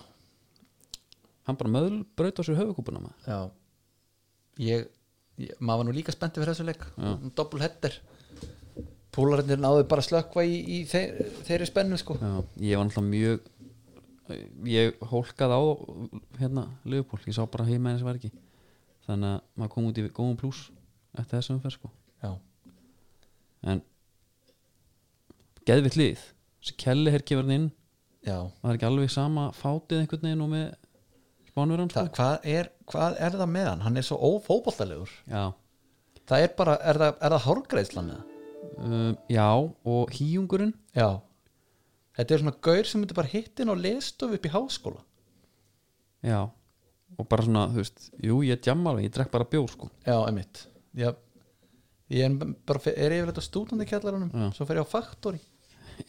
S1: hann bara möðl braut á sér höfukúpuna maður
S2: já. Ég ég, maður var nú líka spennti fyrir þessu leik doppul hettir púlarinnir náðu bara að slökkva í, í þeir, þeirri spennu sko
S1: Já, ég var náttúrulega mjög ég hólkaði á hérna lögupól, ég sá bara heima eins verki þannig að maður kom út í góðum pluss eftir þessum umferð sko
S2: já,
S1: en geðvitt lið þessi kelli her kemur hann inn
S2: já.
S1: það er ekki alveg sama fátið einhvern veginn og með spánverðan
S2: Það,
S1: sko
S2: hvað, er, hvað er það með hann? hann er svo ófóboltalegur
S1: já,
S2: það er bara, er það, er það hárgreislan eða?
S1: um, já og híjungurinn
S2: já þetta er svona gaur sem myndi bara hittin og lestof upp í háskóla
S1: já, og bara svona þú veist, jú ég djamma alveg, ég drekk bara bjór sko (laughs)
S2: já, emitt já, ég er bara er yfirleitt á stúdandi
S1: Já.
S2: kjallarunum svo fer ég á Faktori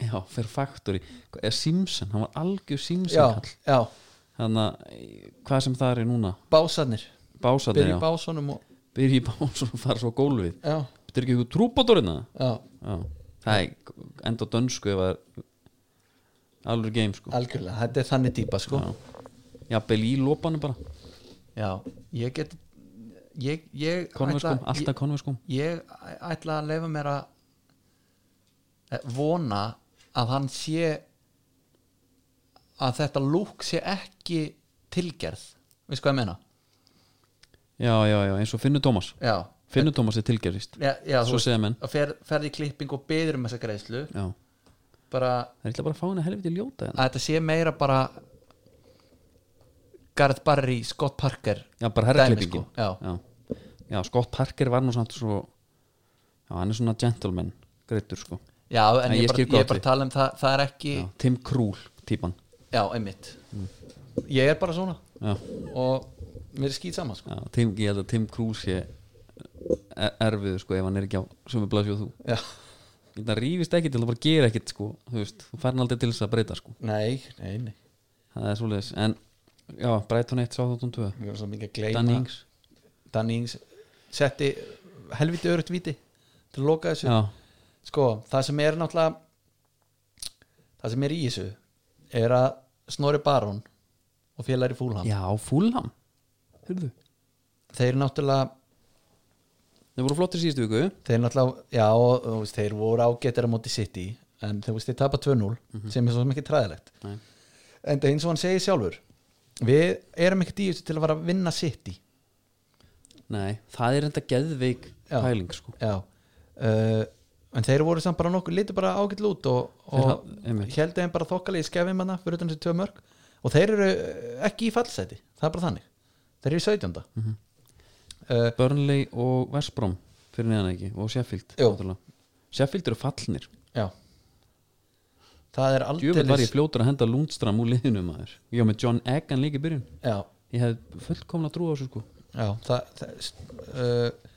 S1: já, fyrir faktori, er Simpson hann var algjör Simpson
S2: já,
S1: kall
S2: já,
S1: þannig að hvað sem það er núna
S2: básanir
S1: básaði já,
S2: byrja í básunum og
S1: byrji í bás og fara svo á gólfið
S2: já,
S1: þetta er ekki ykkur trúbátorina
S2: já
S1: já, það er enda á dönsku ef það er alveg game sko
S2: Algjörlega, þetta er þannig típa sko Já,
S1: já, bel í lópanu bara
S2: ég get ég, ég, ætla,
S1: konverskum, alltaf konverskum
S2: ég, ég ætla að leifa mér að eh, vona að hann sé að þetta lúk sé ekki tilgerð við sko að meina
S1: já, já, já, eins og Finnur Tómas
S2: Já,
S1: Finnur Tómas er tilgerist
S2: já, já
S1: Svo segja menn.
S2: að fer, ferði í klipping og beður um þessa greiðslu
S1: já, það
S2: bara
S1: er eitthvað bara að fá henni helviti ljóta hérna.
S2: að þetta sé meira bara Garth Barry, Scott Parker
S1: já, bara
S2: dæmi,
S1: herraklippingin
S2: sko. Já,
S1: já. já, Scott Parker var nú samt svo já, hann er svona gentleman greittur sko
S2: Já, en
S1: Nei, ég
S2: ég, bara,
S1: skil
S2: ég er
S1: gott
S2: bara
S1: við.
S2: að tala um það það er ekki,
S1: já,
S2: já,
S1: Tim Krúl típan
S2: einmitt ég er bara svona
S1: já
S2: og mér er skýt saman sko.
S1: Já, Tim, ég held að Tim Krús sé er- erfiður sko ef hann er ekki á sömu blasju og þú
S2: já.
S1: það rífist ekki til að bara gera ekkit sko þú veist, þú fær hann aldrei til þess að breyta sko
S2: nei, nei, nei
S1: það er svoleiðis, en já, Brighton 1 Southampton 2,
S2: mér er svo mikið að gleyma
S1: Danny Ings
S2: Danny Ings setti helviti örugt viti til að loka þessu
S1: já,
S2: sko, það sem er náttúrulega það sem er í þessu er að Snorri Baron og félagar í Fúlham
S1: já, Fulham hörðu,
S2: þeir náttúrulega
S1: þeir voru flottir síðustu viku
S2: þeir náttúrulega, já, og, þú veist, þeir voru ágættir á móti City, en þú veist, þeir tapa 2-0
S1: Mhm.
S2: sem er svo sem ekki træðilegt
S1: Nei.
S2: en það er eins og hann segir sjálfur við erum ekkert í þessu til að fara að vinna City
S1: nei, það er enda geðveik
S2: Já.
S1: pæling sko
S2: já uh, en þeir voru samt bara nokkuð, litur bara ágætt lút og,
S1: Þeir
S2: og
S1: haf- einmitt.
S2: held þeim bara þokkalegi skefum hana fyrir utan þessi tvö mörg og þeir eru eh, ekki í fallseti það er bara þannig, þeir eru í 17 uh,
S1: Burnley og Westbrom fyrir neðan ekki, og Sheffield
S2: Jú.
S1: náttúrulega. Sheffield eru fallnir
S2: já það er
S1: djúvel var ég
S2: aldrei
S1: fljótur að henda Lundstram úr liðinu maður ég var með John Eggan líka í byrjun
S2: já,
S1: ég hef fullkomna trú á þessu sko
S2: Já, það, það uh,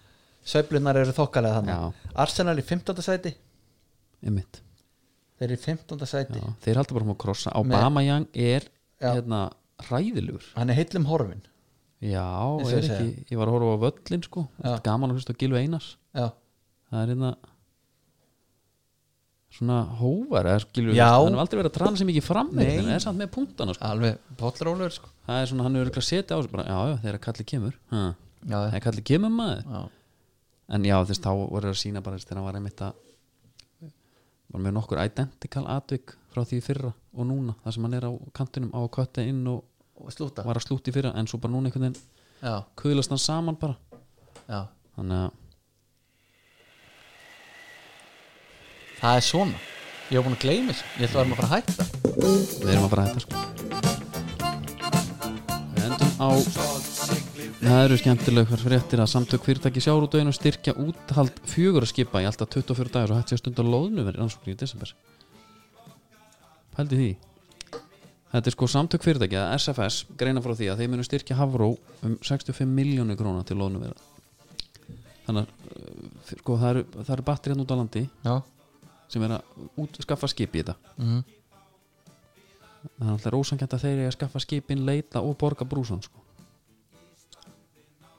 S2: Sveiflunar eru þokkalega þannig Arsenal í 15. sæti
S1: einmitt
S2: Þeir eru í 15. sæti
S1: já, þeir halda bara um að krossa Obama Young er
S2: Já.
S1: hérna hræðilugur
S2: Hann er heillum horfin
S1: já,
S2: Eins og
S1: er
S2: ég
S1: ekki, ég var að horfa á völlin sko
S2: Já.
S1: gaman að hlusta á Gilvi Einars
S2: Já,
S1: það er hérna svona hóvar eða Gilvi
S2: Já.
S1: Einars, hann hefur aldrei verið að trana sem ekki fram með
S2: Nei.
S1: þetta, en er samt með punktana sko
S2: alveg pollrólegur sko
S1: það er svona, hann hefur örugglega setið á þessu bara, já, já, þegar kallið kemur ha.
S2: Já,
S1: þegar kallið kemur maður
S2: já,
S1: en já þess þá voru að sína bara þess þegar hann var einmitt að var með nokkur identical atvik frá því í fyrra og núna þar sem hann er á kantinum á að kötta inn og
S2: og slúta
S1: var að slúti fyrra en svo bara núna einhvern veginn
S2: Já,
S1: kuðlast hann saman bara
S2: já
S1: þannig að
S2: Það er svona Ég hef búin að gleyma þessu Ég ætla að vera maður að fara að hætta
S1: við erum að fara að hætta sko við endum á það eru skemmtilegur fréttir að samtök fyrirtæki sjárúdögin og styrkja úthald fjögur að skipa í alltaf 24 dagar og hætti að stunda loðnu verið rannsóknir í desember pældi því Þetta er sko samtök fyrirtækja, SFS, greina frá því að þeir munu styrkja Hafró um 65 miljónu króna til loðnuvera. Þannig að uh, fyr- sko, það eru, það eru batterið hérna út á landi
S2: Já,
S1: sem er að út, skaffa skip í þetta.
S2: Mhm.
S1: Það er alltaf rósangjönd að þeir eru að skaffa skipin, leita og borga brúsan sko.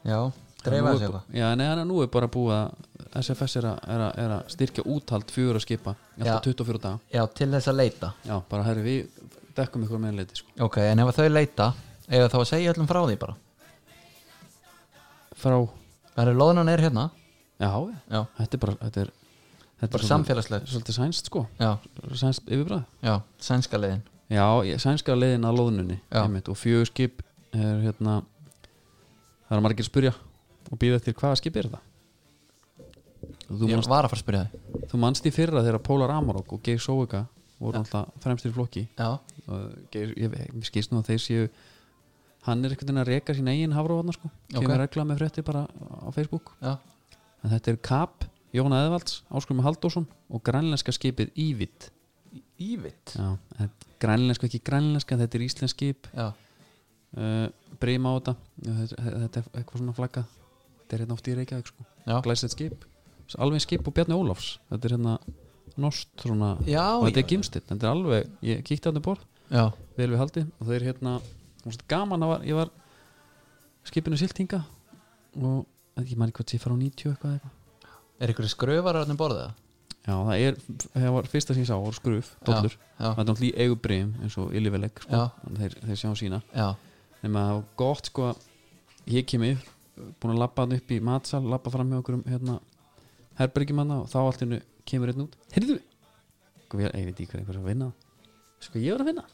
S2: já
S1: Nú
S2: Dreifa
S1: er
S2: þessu
S1: bú-
S2: eitthvað
S1: Já, nei, en nú er bara búið að SFS er að, er að, er að styrkja úthald fjögur að skipa í alltaf 24 daga.
S2: Já, til þess að leita
S1: Já, bara herri við dekkum ykkur með leiti sko.
S2: Ok, en ef að þau leita Eða þá að segja öllum frá því bara
S1: Frá,
S2: Það er loðunan er hérna
S1: já, já.
S2: Já,
S1: þetta er bara þetta er, þetta
S2: bara
S1: er svolítið-
S2: samfélagslega
S1: svolítið sænst sko
S2: Já,
S1: sænst yfirbræð
S2: já, sænska leiðin
S1: já, ég- sænska leiðin að loðnunni
S2: Já.
S1: einmitt, og fjögur skip er hérna það er margir að spyrja og býða eftir hvaða skip er það þú
S2: Ég
S1: manst,
S2: var að fara að spyrja þig
S1: þú manst í fyrra þegar Pólar Amarok og Geir Sóika voru alltaf fremstir í flokki
S2: Já,
S1: og Geir, ég, ég skilst nú að þeir séu hann er einhvern veginn að reka sína eigin hafróðna sko, kemur
S2: Ok.
S1: okay. regla með frétti bara á Facebook
S2: já,
S1: en þetta er Kap, Jón Eðvalds, Áskrumi Halldórsson og grænlenska skipið Ívit
S2: Ívitt
S1: já, en grænlenska ekki grænlenska þetta er íslensk skip
S2: Já,
S1: uh, breyma á þetta Já, þetta þetta er eitthvað svona flagga þetta er hérna oft í Reykjavík sko
S2: Já.
S1: glæsett skip, alveg skip og Bjarni Ólafs þetta er hérna nost svona
S2: já,
S1: og þetta er
S2: já,
S1: gimstitt, þetta er alveg ég kíkti á þetta borð,
S2: já,
S1: vel við haldi og þeir hérna, og svona gaman að var, ég var skipinu siltinga og ég man ekki hvað ég fara á 90 eitthvað eitthvað
S2: er ykkur skröfar að borða
S1: Já, það er, það var fyrsta sem ég sá var skruf, dollur, það
S2: það?
S1: er náttúrulega í eigubriðum eins og ylliveleg, sko,
S2: Já.
S1: Þannig að þeir, þeir sjá sína
S2: Já, já,
S1: nema það var gott, sko, að ég kem yfir búin að labba hann upp í matsal labba fram hjá okkur um, hérna herbergjumanna og þá allt innu kemur einn út heyrðu, sko, ég, ég veit ekki hvað einhver er að vinna sko, ég var að vinna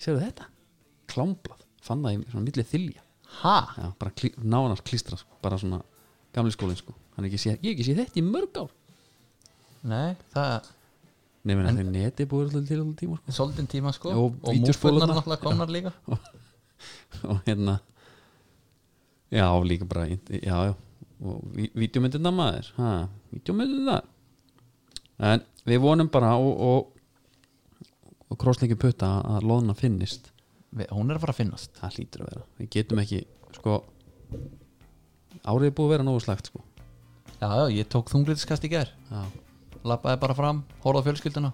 S1: sérðu þetta, klámblað fann það í svona millið þylja
S2: ha,
S1: Já, bara klí, nánar klístra, sko, bara svona gamli skólinn, sko, hann er ekki sé, ég hef ekki sé þetta í mörg ár
S2: nei, það
S1: Nei, menn
S2: En-
S1: að þau neti búið alltaf til alltaf tíma sko.
S2: er svolítinn tíma sko
S1: Já, og
S2: og múfurnar
S1: vídeóspólurnar.
S2: náttúrulega komnar líka
S1: og hérna já, líka bara int- já, já, og vídjómyndina maður ha, vídjómyndina en við vonum bara og, og, og krossleikin putta að loðna finnist
S2: Við- Hún er að fara að finnast
S1: það hlýtur að vera, við getum ekki sko árið er búið að vera nógu slagt sko
S2: Já, já, ég tók þunglitiskast í gær
S1: já,
S2: Lappaði bara fram, horfði á fjölskylduna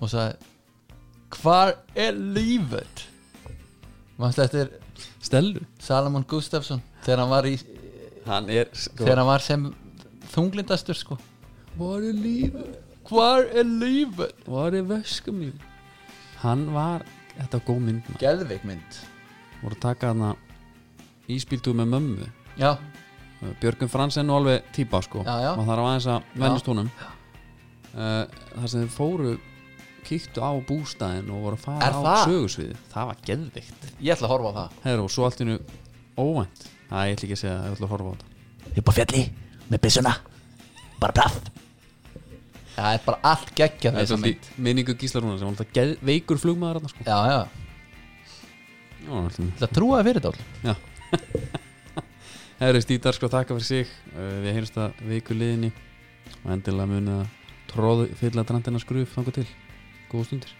S2: Og sagði Hvar er lífet? Manstu eftir
S1: stelur
S2: Salomon Gustafsson Þegar hann var, í,
S1: hann er sko
S2: þegar hann var sem þunglindastur sko
S1: var er lífið,
S2: Hvar er lífet?
S1: var er veskum mín hann var, þetta var góð mynd maður.
S2: Gelvik mynd
S1: voru að taka hana íspíldu með mömmu
S2: Já,
S1: Björgum Frans er nú alveg típa sko
S2: Já, já.
S1: og það er aðeins að vennist honum uh, þar sem þeir fóru kíktu á bústæðin og voru að fara
S2: Er
S1: á
S2: það?
S1: sögusviði það var geðvikt
S2: ég ætla að horfa á það
S1: Heru, og svo allt innu óvænt það ég ætla ekki að segja, ég ætla að horfa á þetta
S3: upp á fjalli með byssuna bara plaff
S2: Það er bara allt geggjað
S1: það er
S2: þessa mynd
S1: svolítið minningu Gísla Rúnar sem var alltaf geð, veikur flugmaður þarna, sko.
S2: Já, já,
S1: Já, allt í einu.
S2: ætla að trúa þér fyrir þetta all
S1: Já Herri Stítar sko þakka fyrir sig Uh, Við heyrumst að viku liðinni og endilega munið að tróðu fylla drandina skruf þangu til Góða stundir